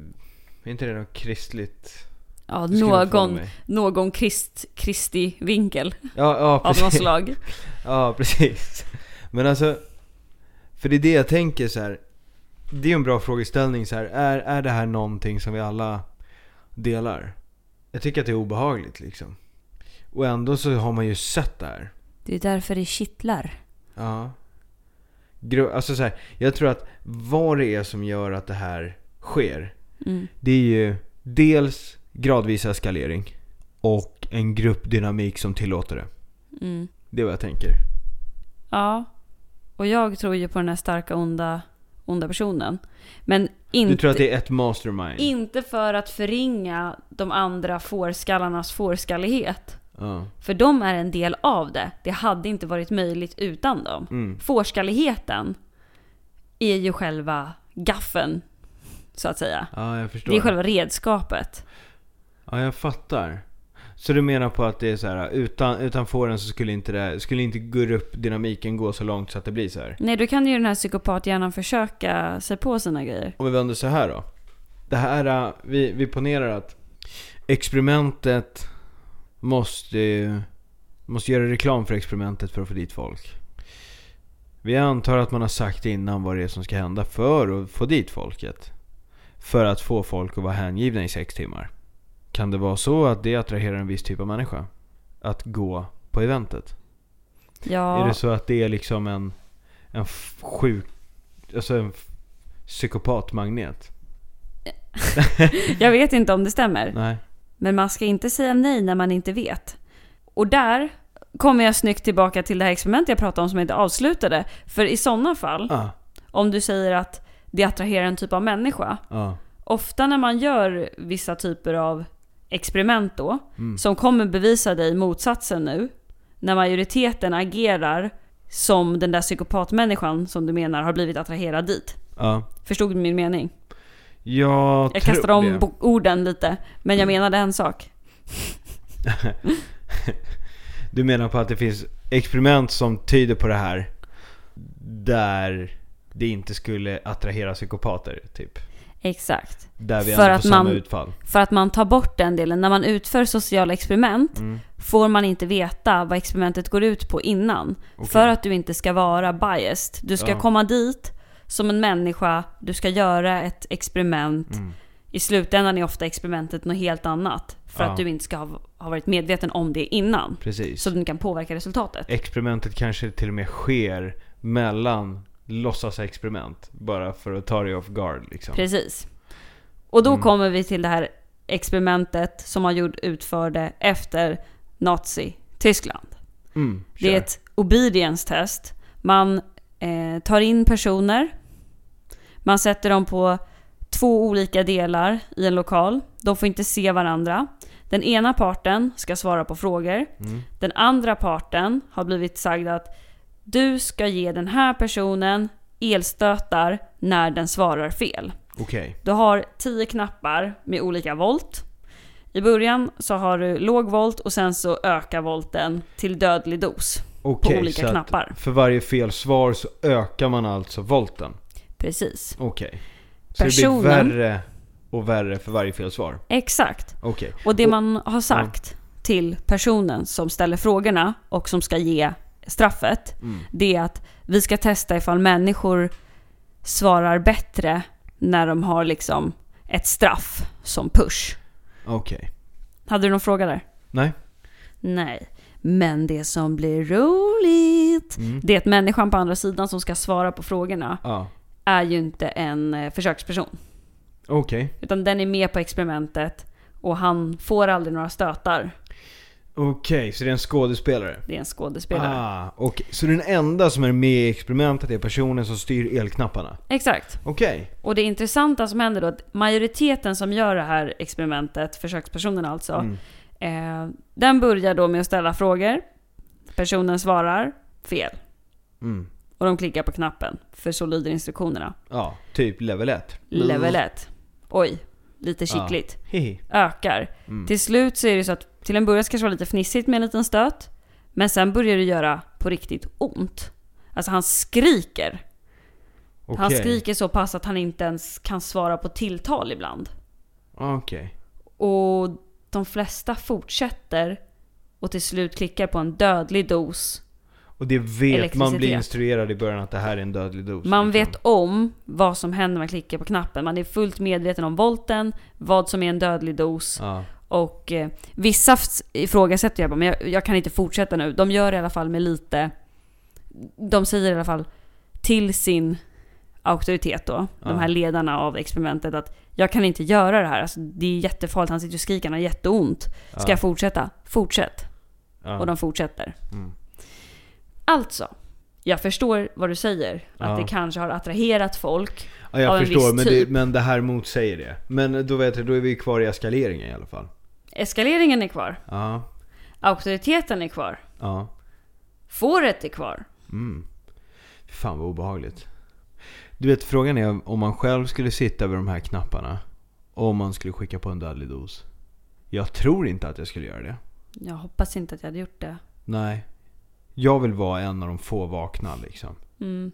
[SPEAKER 2] Är inte det något kristligt?
[SPEAKER 1] Ja,
[SPEAKER 2] Det skulle jag få
[SPEAKER 1] någon,
[SPEAKER 2] mig.
[SPEAKER 1] någon krist, kristi vinkel
[SPEAKER 2] Ja,
[SPEAKER 1] av
[SPEAKER 2] ja precis.
[SPEAKER 1] något slag.
[SPEAKER 2] Ja, precis. Men alltså, för det är det jag tänker så här. Det är en bra frågeställning så här. Är, är det här någonting som vi alla delar? Jag tycker att det är obehagligt liksom. Och ändå så har man ju sett det här.
[SPEAKER 1] Det är därför det kittlar.
[SPEAKER 2] Ja. Gro- Alltså så här, jag tror att vad det är som gör att det här sker.
[SPEAKER 1] Mm.
[SPEAKER 2] Det är ju dels gradvis eskalering och en gruppdynamik som tillåter det.
[SPEAKER 1] Mm.
[SPEAKER 2] Det är vad jag tänker.
[SPEAKER 1] Ja. Och jag tror ju på den här starka onda, onda personen. Men inte,
[SPEAKER 2] Du tror att det är ett mastermind?
[SPEAKER 1] inte för att förringa de andra fårskallarnas fårskallighet.
[SPEAKER 2] Ja.
[SPEAKER 1] För de är en del av det. Det hade inte varit möjligt utan dem.
[SPEAKER 2] Mm.
[SPEAKER 1] Fårskalligheten är ju själva gaffen, så att säga.
[SPEAKER 2] Ja, jag förstår.
[SPEAKER 1] Det är själva redskapet.
[SPEAKER 2] Ja, jag fattar. Så du menar på att det är så här, utan, utan fåren så skulle inte, det, skulle inte gruppdynamiken gå så långt så att det blir så här.
[SPEAKER 1] Nej, då kan ju den här psykopathjärnan försöka sig på sina grejer.
[SPEAKER 2] Om vi vänder så här då. Det här, äh, vi, vi ponerar att experimentet måste, ju- måste göra reklam för experimentet för att få dit folk. Vi antar att man har sagt innan vad det är som ska hända för att få dit folket. För att få folk att vara hängivna i sex timmar. Kan det vara så att det attraherar en viss typ av människa? Att gå på eventet? Är
[SPEAKER 1] Ja,
[SPEAKER 2] det så att det är liksom en, en f- sjuk, alltså en f- psykopatmagnet?
[SPEAKER 1] jag vet inte om det stämmer.
[SPEAKER 2] Nej.
[SPEAKER 1] Men man ska inte säga nej när man inte vet. Och där kommer jag snyggt tillbaka till det här experimentet jag pratade om som jag inte avslutade. För i sådana fall,
[SPEAKER 2] Ja.
[SPEAKER 1] om du säger att det attraherar en typ av människa.
[SPEAKER 2] Ja.
[SPEAKER 1] Ofta när man gör vissa typer av experiment då,
[SPEAKER 2] Mm.
[SPEAKER 1] som kommer bevisa dig motsatsen nu. När majoriteten agerar som den där psykopatmänniskan som du menar har blivit attraherad dit.
[SPEAKER 2] Ja.
[SPEAKER 1] Förstod du min mening?
[SPEAKER 2] ah. Jag,
[SPEAKER 1] Jag
[SPEAKER 2] tror
[SPEAKER 1] kastar om
[SPEAKER 2] det.
[SPEAKER 1] bo- orden lite, men jag menade en sak.
[SPEAKER 2] Du menar på att det finns experiment som tyder på det här där det inte skulle attrahera psykopater, typ.
[SPEAKER 1] Exakt.
[SPEAKER 2] Där vi
[SPEAKER 1] För
[SPEAKER 2] ändå
[SPEAKER 1] att
[SPEAKER 2] får samma
[SPEAKER 1] man-
[SPEAKER 2] utfall.
[SPEAKER 1] För att man tar bort den delen. När man utför sociala experiment
[SPEAKER 2] Mm.
[SPEAKER 1] får man inte veta vad experimentet går ut på innan.
[SPEAKER 2] Okej.
[SPEAKER 1] För att du inte ska vara biased. Du ska
[SPEAKER 2] Ja.
[SPEAKER 1] komma dit som en människa, du ska göra ett experiment.
[SPEAKER 2] Mm.
[SPEAKER 1] I slutändan är ofta experimentet något helt annat. För
[SPEAKER 2] Ja.
[SPEAKER 1] att du inte ska ha, ha varit medveten om det innan.
[SPEAKER 2] Precis.
[SPEAKER 1] Så du inte kan påverka resultatet.
[SPEAKER 2] Experimentet kanske till och med sker mellan låtsasexperiment. Bara för att ta dig off guard liksom.
[SPEAKER 1] Precis. Och då
[SPEAKER 2] Mm.
[SPEAKER 1] kommer vi till det här experimentet som man gjorde, utförde efter Nazi-Tyskland.
[SPEAKER 2] Mm,
[SPEAKER 1] Det är
[SPEAKER 2] kör.
[SPEAKER 1] ett obedience-test. Man eh, tar in personer. Man sätter dem på två olika delar i en lokal. De får inte se varandra. Den ena parten ska svara på frågor.
[SPEAKER 2] Mm.
[SPEAKER 1] Den andra parten har blivit sagd att du ska ge den här personen elstötar när den svarar fel.
[SPEAKER 2] Okej.
[SPEAKER 1] Du har 10 knappar med olika volt. I början så har du låg volt och sen så ökar volten till dödlig dos.
[SPEAKER 2] Okej,
[SPEAKER 1] olika
[SPEAKER 2] så att
[SPEAKER 1] knappar.
[SPEAKER 2] För varje fel svar så ökar man alltså volten.
[SPEAKER 1] Precis.
[SPEAKER 2] Okej. Så
[SPEAKER 1] Personen-
[SPEAKER 2] det blir värre och värre för varje fel svar.
[SPEAKER 1] Exakt.
[SPEAKER 2] Okej.
[SPEAKER 1] Och det
[SPEAKER 2] Och-
[SPEAKER 1] man har sagt till personen som ställer frågorna och som ska ge straffet,
[SPEAKER 2] Mm.
[SPEAKER 1] det är att vi ska testa ifall människor svarar bättre när de har liksom ett straff som push.
[SPEAKER 2] Okej.
[SPEAKER 1] Hade du någon fråga där?
[SPEAKER 2] Nej.
[SPEAKER 1] Nej. Men det som blir roligt
[SPEAKER 2] Mm.
[SPEAKER 1] Det är att människan på andra sidan som ska svara på frågorna
[SPEAKER 2] Ja.
[SPEAKER 1] är ju inte en eh, försöksperson.
[SPEAKER 2] Okej.
[SPEAKER 1] Utan den är med på experimentet och han får aldrig några stötar.
[SPEAKER 2] Okej, så det är en skådespelare?
[SPEAKER 1] Det är en skådespelare.
[SPEAKER 2] Ah, och, så den enda som är med i experimentet är personen som styr elknapparna?
[SPEAKER 1] Exakt.
[SPEAKER 2] Okej.
[SPEAKER 1] Och det intressanta som händer då, att majoriteten som gör det här experimentet, försökspersonerna alltså,
[SPEAKER 2] Mm.
[SPEAKER 1] eh, den börjar då med att ställa frågor. Personen svarar fel.
[SPEAKER 2] Mm.
[SPEAKER 1] Och de klickar på knappen, för så lyder instruktionerna.
[SPEAKER 2] Ja, typ level 1.
[SPEAKER 1] Level 1. Oj, lite
[SPEAKER 2] Ja.
[SPEAKER 1] kittligt.
[SPEAKER 2] Hehe.
[SPEAKER 1] Ökar.
[SPEAKER 2] Mm.
[SPEAKER 1] Till slut så är det så att till en början ska det vara lite fnissigt med en liten stöt. Men sen börjar det göra på riktigt ont. Alltså han skriker. Han
[SPEAKER 2] Okej.
[SPEAKER 1] skriker så pass att han inte ens kan svara på tilltal ibland.
[SPEAKER 2] Okej.
[SPEAKER 1] Och de flesta fortsätter och till slut klickar på en dödlig dos.
[SPEAKER 2] Och det vet man blir
[SPEAKER 1] Elektricitet.
[SPEAKER 2] instruerad i början att det här är en dödlig dos.
[SPEAKER 1] Man
[SPEAKER 2] liksom.
[SPEAKER 1] vet om vad som händer när man klickar på knappen. Man är fullt medveten om volten, vad som är en dödlig dos.
[SPEAKER 2] Ja.
[SPEAKER 1] Och eh, vissa f- ifrågasätter jag bara, men jag, jag kan inte fortsätta nu. De gör det i alla fall med lite... De säger i alla fall till sin auktoritet då,
[SPEAKER 2] Ja.
[SPEAKER 1] de här ledarna av experimentet att jag kan inte göra det här. Alltså, det är jättefarligt, han sitter och skriker, han har jätteont. Ska
[SPEAKER 2] ja.
[SPEAKER 1] jag fortsätta? Fortsätt.
[SPEAKER 2] ja.
[SPEAKER 1] Och de fortsätter.
[SPEAKER 2] Mm.
[SPEAKER 1] Alltså, jag förstår vad du säger. Att
[SPEAKER 2] Ja.
[SPEAKER 1] det kanske har attraherat folk.
[SPEAKER 2] ja, jag
[SPEAKER 1] av en
[SPEAKER 2] förstår,
[SPEAKER 1] viss
[SPEAKER 2] men det,
[SPEAKER 1] typ.
[SPEAKER 2] men det här motsäger det. Men då vet du, då är vi kvar i eskaleringen i alla fall.
[SPEAKER 1] Eskaleringen är kvar.
[SPEAKER 2] Ja.
[SPEAKER 1] Auktoriteten är kvar.
[SPEAKER 2] Ja.
[SPEAKER 1] Fåret är kvar.
[SPEAKER 2] Mm. Fan vad obehagligt. Du vet, frågan är om man själv skulle sitta vid de här knapparna. och Om man skulle skicka på en dödlig dos. Jag tror inte att jag skulle göra det.
[SPEAKER 1] Jag hoppas inte att jag hade gjort det.
[SPEAKER 2] Nej. Jag vill vara en av de få vakna liksom.
[SPEAKER 1] Mm.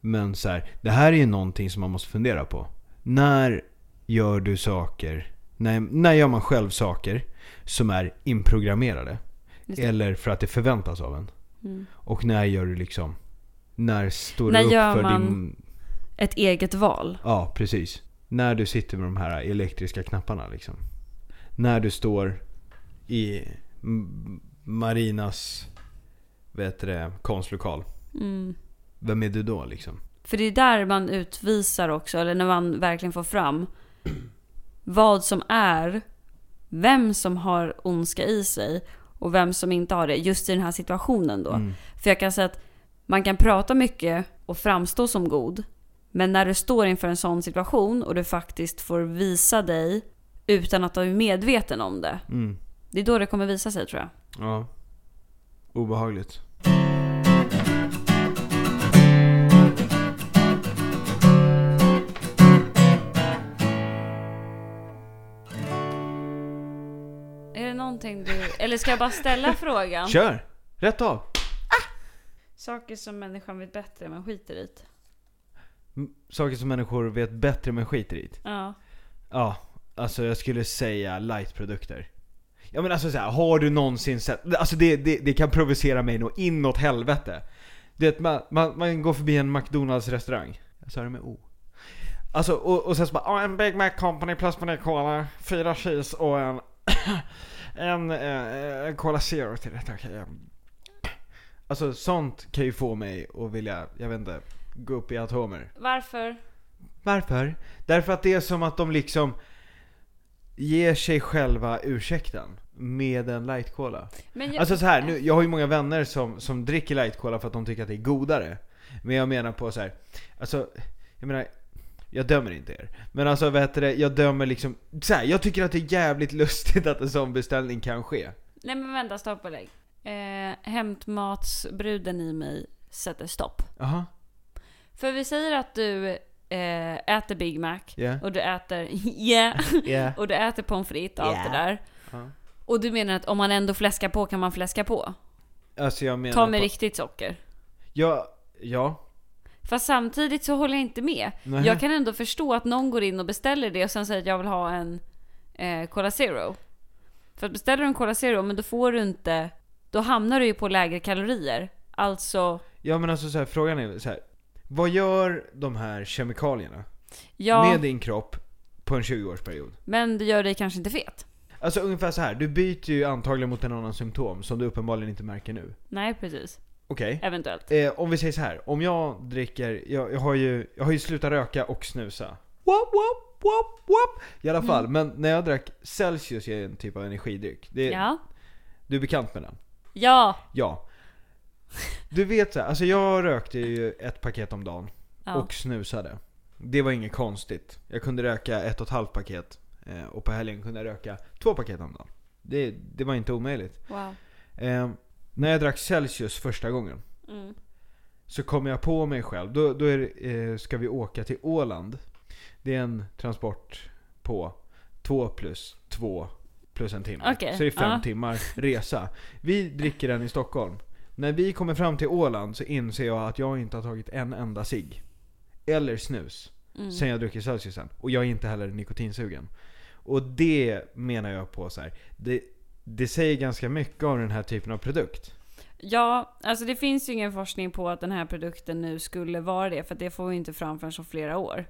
[SPEAKER 2] Men så här, det här är ju någonting som man måste fundera på. När gör du saker, när, när gör man själv saker som är inprogrammerade?
[SPEAKER 1] Just det.
[SPEAKER 2] Eller för att det förväntas av en?
[SPEAKER 1] Mm.
[SPEAKER 2] Och när gör du liksom, när står
[SPEAKER 1] När
[SPEAKER 2] du upp
[SPEAKER 1] gör
[SPEAKER 2] för
[SPEAKER 1] man-
[SPEAKER 2] din...
[SPEAKER 1] Ett eget val.
[SPEAKER 2] Ja, precis. När du sitter med de här elektriska knapparna liksom. När du står i M- Marinas, vad heter det, konstlokal.
[SPEAKER 1] Mm.
[SPEAKER 2] Vem är du då liksom?
[SPEAKER 1] För det är där man utvisar också, eller när man verkligen får fram vad som är, vem som har ondska i sig och vem som inte har det just i den här situationen då.
[SPEAKER 2] Mm.
[SPEAKER 1] För jag kan säga att man kan prata mycket och framstå som god. Men när du står inför en sån situation och du faktiskt får visa dig utan att du är medveten om det.
[SPEAKER 2] Mm.
[SPEAKER 1] Det är då det kommer visa sig tror jag.
[SPEAKER 2] Ja. Obehagligt.
[SPEAKER 1] Är det någonting du... Eller ska jag bara ställa frågan?
[SPEAKER 2] Kör! Rätt av!
[SPEAKER 1] Saker som människan vet bättre men skiter i.
[SPEAKER 2] M- Saker som människor vet bättre men skiter i.
[SPEAKER 1] Ja.
[SPEAKER 2] Ja, alltså jag skulle säga lightprodukter. Ja men alltså så här, har du någonsin sett, alltså det, det, det kan provocera mig nog inåt helvete. Du vet man, man, man går förbi en McDonalds restaurang. Jag sa det med O. Alltså och, och sen så bara, "Ja, en Big Mac Company plus på en cola, fyra cheese och en, en, eh, en Cola Zero till detta. okej. Alltså sånt kan ju få mig att vilja, jag vet inte, gå upp i atomer.
[SPEAKER 1] Varför?
[SPEAKER 2] Varför? Därför att det är som att de liksom ger sig själva ursäkten med en light cola.
[SPEAKER 1] Men jag...
[SPEAKER 2] Alltså så här, nu, jag har ju många vänner som, som dricker light cola för att de tycker att det är godare. Men jag menar på så här, alltså, jag menar, jag dömer inte er. Men alltså vad heter det, jag dömer liksom, så här, jag tycker att det är jävligt lustigt att en sån beställning kan ske.
[SPEAKER 1] Nej men vänta, stopp och lägg. Eh, hämtmatsbruden i mig sätter stopp.
[SPEAKER 2] Jaha,
[SPEAKER 1] För vi säger att du eh, äter Big Mac
[SPEAKER 2] ja.
[SPEAKER 1] och du äter... yeah!
[SPEAKER 2] Ja.
[SPEAKER 1] Och du äter pommes frites och allt
[SPEAKER 2] Ja.
[SPEAKER 1] det där.
[SPEAKER 2] Ja.
[SPEAKER 1] Och du menar att om man ändå fläskar på kan man fläska på?
[SPEAKER 2] Alltså jag menar
[SPEAKER 1] Ta med
[SPEAKER 2] på,
[SPEAKER 1] riktigt socker.
[SPEAKER 2] Ja, ja.
[SPEAKER 1] Fast samtidigt så håller jag inte med.
[SPEAKER 2] Nej.
[SPEAKER 1] Jag kan ändå förstå att någon går in och beställer det och sen säger att jag vill ha en eh, Cola Zero. För att beställer du en Cola Zero, men då får du inte... Då hamnar du ju på lägre kalorier. Alltså,
[SPEAKER 2] Ja men alltså så här, frågan är så här. Vad gör de här kemikalierna
[SPEAKER 1] ja,
[SPEAKER 2] med din kropp på en 20-årsperiod?
[SPEAKER 1] men det gör dig kanske inte fet.
[SPEAKER 2] Alltså ungefär så här. du byter ju antagligen mot en annan symptom som du uppenbarligen inte märker nu.
[SPEAKER 1] Nej, precis.
[SPEAKER 2] Okej.
[SPEAKER 1] Eventuellt.
[SPEAKER 2] Eh, om vi säger så här. om jag dricker, jag, jag, har ju, jag har ju slutat röka och snusa. Wop, wop, wop, wop. I alla fall, men när jag drack Celsius är en typ av energidryck. Det,
[SPEAKER 1] Mm. Ja.
[SPEAKER 2] Du är bekant med den?
[SPEAKER 1] Ja!
[SPEAKER 2] Ja. Du vet så här, alltså jag rökte ju ett paket om dagen
[SPEAKER 1] ja.
[SPEAKER 2] och snusade. Det var inget konstigt. Jag kunde röka ett och ett halvt paket eh, och på helgen kunde jag röka två paket om dagen. Det, det var inte omöjligt.
[SPEAKER 1] Wow.
[SPEAKER 2] Eh, när jag drack Celsius första gången
[SPEAKER 1] Mm.
[SPEAKER 2] så kom jag på mig själv. Då, då är, det, eh, ska vi åka till Åland. Det är en transport på två plus två plus en timme.
[SPEAKER 1] Okej,
[SPEAKER 2] Så det är fem
[SPEAKER 1] ja.
[SPEAKER 2] timmar resa. Vi dricker den i Stockholm. När vi kommer fram till Åland så inser jag att jag inte har tagit en enda cigg. Eller snus.
[SPEAKER 1] Mm.
[SPEAKER 2] Sen jag druckit Celsiusen. Och jag är inte heller nikotinsugen. Och det menar jag på så här. Det, det säger ganska mycket om den här typen av produkt.
[SPEAKER 1] Ja, alltså det finns ju ingen forskning på att den här produkten nu skulle vara det, för att det får vi inte fram förrän om flera år.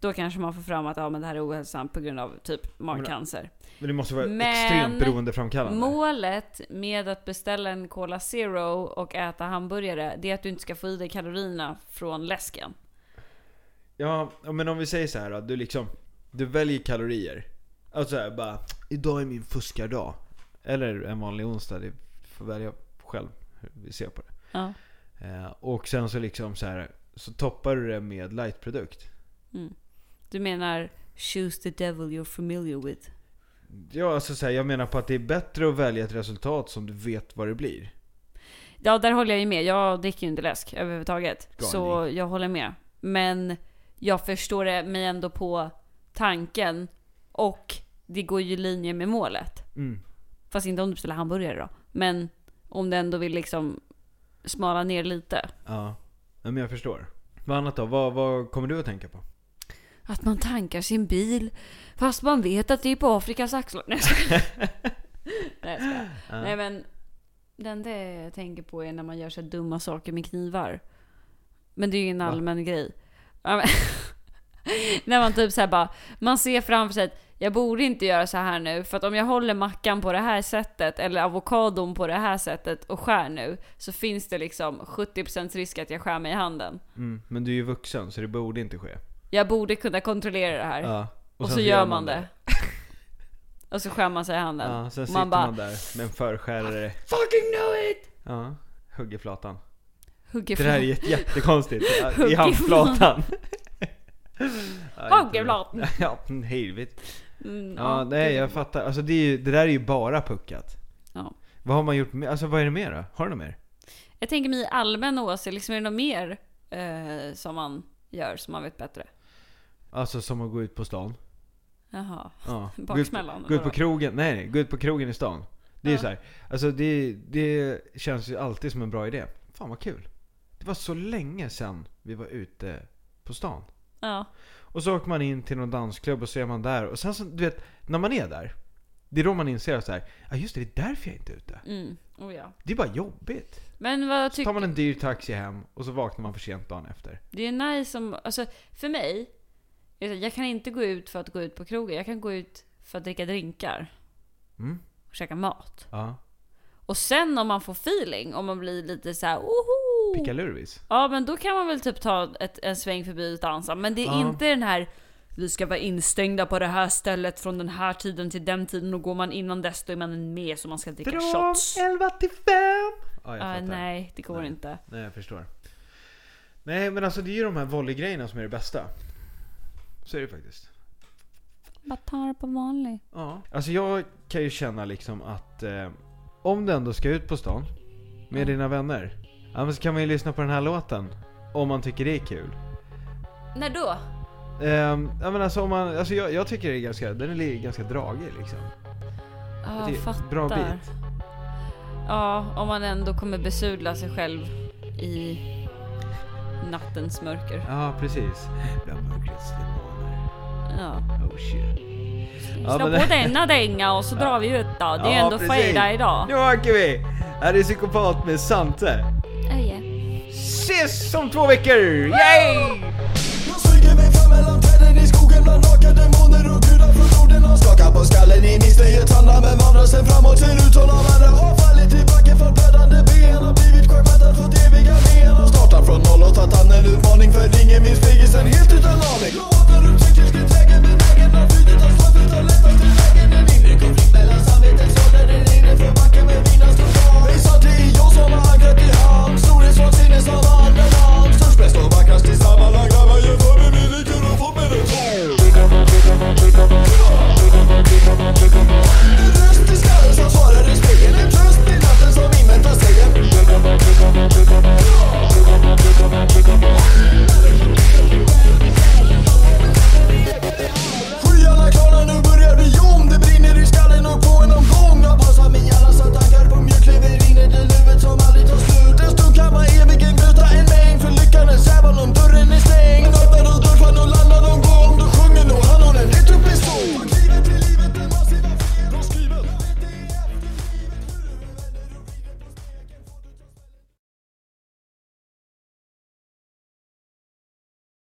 [SPEAKER 1] Då kanske man får fram att ja, men det här är ohälsosamt på grund av typ magcancer.
[SPEAKER 2] Men det måste vara
[SPEAKER 1] Men-
[SPEAKER 2] extremt beroendeframkallande.
[SPEAKER 1] Målet med att beställa en Cola Zero och äta hamburgare, det är att du inte ska få i dig kalorierna från läsken.
[SPEAKER 2] Ja, ja, men om vi säger så här då, du liksom, du väljer kalorier. Alltså så här, bara, idag är min fuskardag. Eller en vanlig onsdag, det får välja själv hur vi ser på det.
[SPEAKER 1] Ja.
[SPEAKER 2] Eh, och sen så liksom så här, så toppar du det med lightprodukt.
[SPEAKER 1] Du menar “choose the devil you're familiar with”?
[SPEAKER 2] Ja, alltså så här, jag menar på att det är bättre att välja ett resultat som du vet vad det blir.
[SPEAKER 1] Ja, där håller jag ju med. Jag dricker ju inte läsk överhuvudtaget.
[SPEAKER 2] Galning.
[SPEAKER 1] Så jag håller med. Men jag förstår det- mig ändå på tanken. Och det går ju i linje med målet.
[SPEAKER 2] Mm.
[SPEAKER 1] Fast inte om du beställer hamburgare då. Men om du ändå vill liksom smala ner lite.
[SPEAKER 2] Ja. ja, men jag förstår. Vad annat då? Vad, vad kommer du att tänka på?
[SPEAKER 1] Att man tankar sin bil fast man vet att det är på Afrikas axlar. Nej, jag skojar. Nej, jag skojar.
[SPEAKER 2] Ja.
[SPEAKER 1] Nej men det enda jag tänker på är när man gör så här dumma saker med knivar. Men det är ju en
[SPEAKER 2] Va?
[SPEAKER 1] allmän grej. Ja, men, när man typ så här bara, man ser framför sig att jag borde inte göra så här nu för att om jag håller mackan på det här sättet eller avokadon på det här sättet och skär nu så finns det liksom 70% risk att jag skär mig i handen.
[SPEAKER 2] Mm, men du är ju vuxen så det borde inte ske.
[SPEAKER 1] Jag borde kunna kontrollera det här.
[SPEAKER 2] Ja.
[SPEAKER 1] Och,
[SPEAKER 2] sen
[SPEAKER 1] så, gör man det. och så skär man sig i handen.
[SPEAKER 2] Ja, sen
[SPEAKER 1] Och
[SPEAKER 2] sitter man,
[SPEAKER 1] man bara
[SPEAKER 2] där med en förskärare.
[SPEAKER 1] Fucking know it!
[SPEAKER 2] Ja, hugger flatan.
[SPEAKER 1] Hugger
[SPEAKER 2] Det där är
[SPEAKER 1] fram.
[SPEAKER 2] jätte- jättekonstigt. Ja, I
[SPEAKER 1] Hugger
[SPEAKER 2] handflatan.
[SPEAKER 1] Hugger flatan.
[SPEAKER 2] Ja, helvete.
[SPEAKER 1] Mm,
[SPEAKER 2] Ja, nej
[SPEAKER 1] det-
[SPEAKER 2] jag fattar. Alltså det, är ju, det där är ju bara puckat.
[SPEAKER 1] Ja.
[SPEAKER 2] Vad har man gjort med, alltså vad är det mer då? Har du något mer?
[SPEAKER 1] Jag tänker mig i allmän åsikt, liksom är det något mer eh, som man gör som man vet bättre?
[SPEAKER 2] Alltså som att gå ut på stan.
[SPEAKER 1] Jaha,
[SPEAKER 2] Ja. Gå ut,
[SPEAKER 1] baksmällan?
[SPEAKER 2] gå ut på
[SPEAKER 1] eller
[SPEAKER 2] krogen, nej nej, gå ut på krogen i stan. Det är ju
[SPEAKER 1] Ja.
[SPEAKER 2] så här. alltså det, det känns ju alltid som en bra idé. Fan vad kul. Det var så länge sedan vi var ute på stan.
[SPEAKER 1] vad? Ja.
[SPEAKER 2] Och så åker man in till någon dansklubb och så är man där. Och sen så, du vet, när man är där. Det är då man inser att så här, ja just det, det är därför jag inte är ute.
[SPEAKER 1] Mm. Oh, ja.
[SPEAKER 2] Det är bara jobbigt.
[SPEAKER 1] Men vad
[SPEAKER 2] Så tar
[SPEAKER 1] tycker
[SPEAKER 2] man en dyr taxi hem och så vaknar man för sent dagen efter.
[SPEAKER 1] Det är nice om, alltså för mig, är det så här, jag kan inte gå ut för att gå ut på krogen. Jag kan gå ut för att dricka drinkar
[SPEAKER 2] Mm,
[SPEAKER 1] och käka mat.
[SPEAKER 2] ja.
[SPEAKER 1] Och sen om man får feeling, om man blir lite så här, oho!
[SPEAKER 2] Pickalurvis.
[SPEAKER 1] Ja men då kan man väl typ ta ett, en sväng förbi ett ansam. Men det är
[SPEAKER 2] Ja.
[SPEAKER 1] inte den här vi ska vara instängda på det här stället från den här tiden till den tiden och går man innan dess då är man med så man ska dricka
[SPEAKER 2] Från
[SPEAKER 1] shots.
[SPEAKER 2] 11 till 5! Ja, jag
[SPEAKER 1] Ah,
[SPEAKER 2] fattar. nej.
[SPEAKER 1] nej, det går
[SPEAKER 2] Nej.
[SPEAKER 1] inte.
[SPEAKER 2] jag förstår. Nej men alltså det är ju de här volleygrejerna som är det bästa. Så är det faktiskt.
[SPEAKER 1] Bara ta det på vanlig.
[SPEAKER 2] Ja. Alltså jag kan ju känna liksom att eh, om du ändå ska ut på stan med
[SPEAKER 1] Mm.
[SPEAKER 2] dina vänner. Ja men så kan man ju lyssna på den här låten. Om man tycker det är kul.
[SPEAKER 1] När då?
[SPEAKER 2] Ehm, ja men alltså om man, alltså jag, jag tycker det är ganska, den är li- ganska dragig liksom.
[SPEAKER 1] Ja,
[SPEAKER 2] det är
[SPEAKER 1] fattar.
[SPEAKER 2] bra bit.
[SPEAKER 1] Ja, om man ändå kommer besudla sig själv i nattens mörker.
[SPEAKER 2] Ja precis. Bland mörkrets demoner.
[SPEAKER 1] Ja.
[SPEAKER 2] Oh shit. Ja,
[SPEAKER 1] Slå
[SPEAKER 2] men-
[SPEAKER 1] på denna dänga och så drar vi ut då. Det är
[SPEAKER 2] Ja,
[SPEAKER 1] ändå
[SPEAKER 2] precis.
[SPEAKER 1] fredag idag.
[SPEAKER 2] Nu åker vi! Här är Psykopat med Sante. Ses om två veckor! Yay!
[SPEAKER 3] Jag smyger mig fram mellan träden i skogen bland nakna demoner och gudar från jorden. Han skakar på skallen i missnöjets famnar men vandrar sen framåt. Ser ut som de andra har fallit i backen från blödande ben. Han har blivit sjömättad, fått eviga men. Han har startat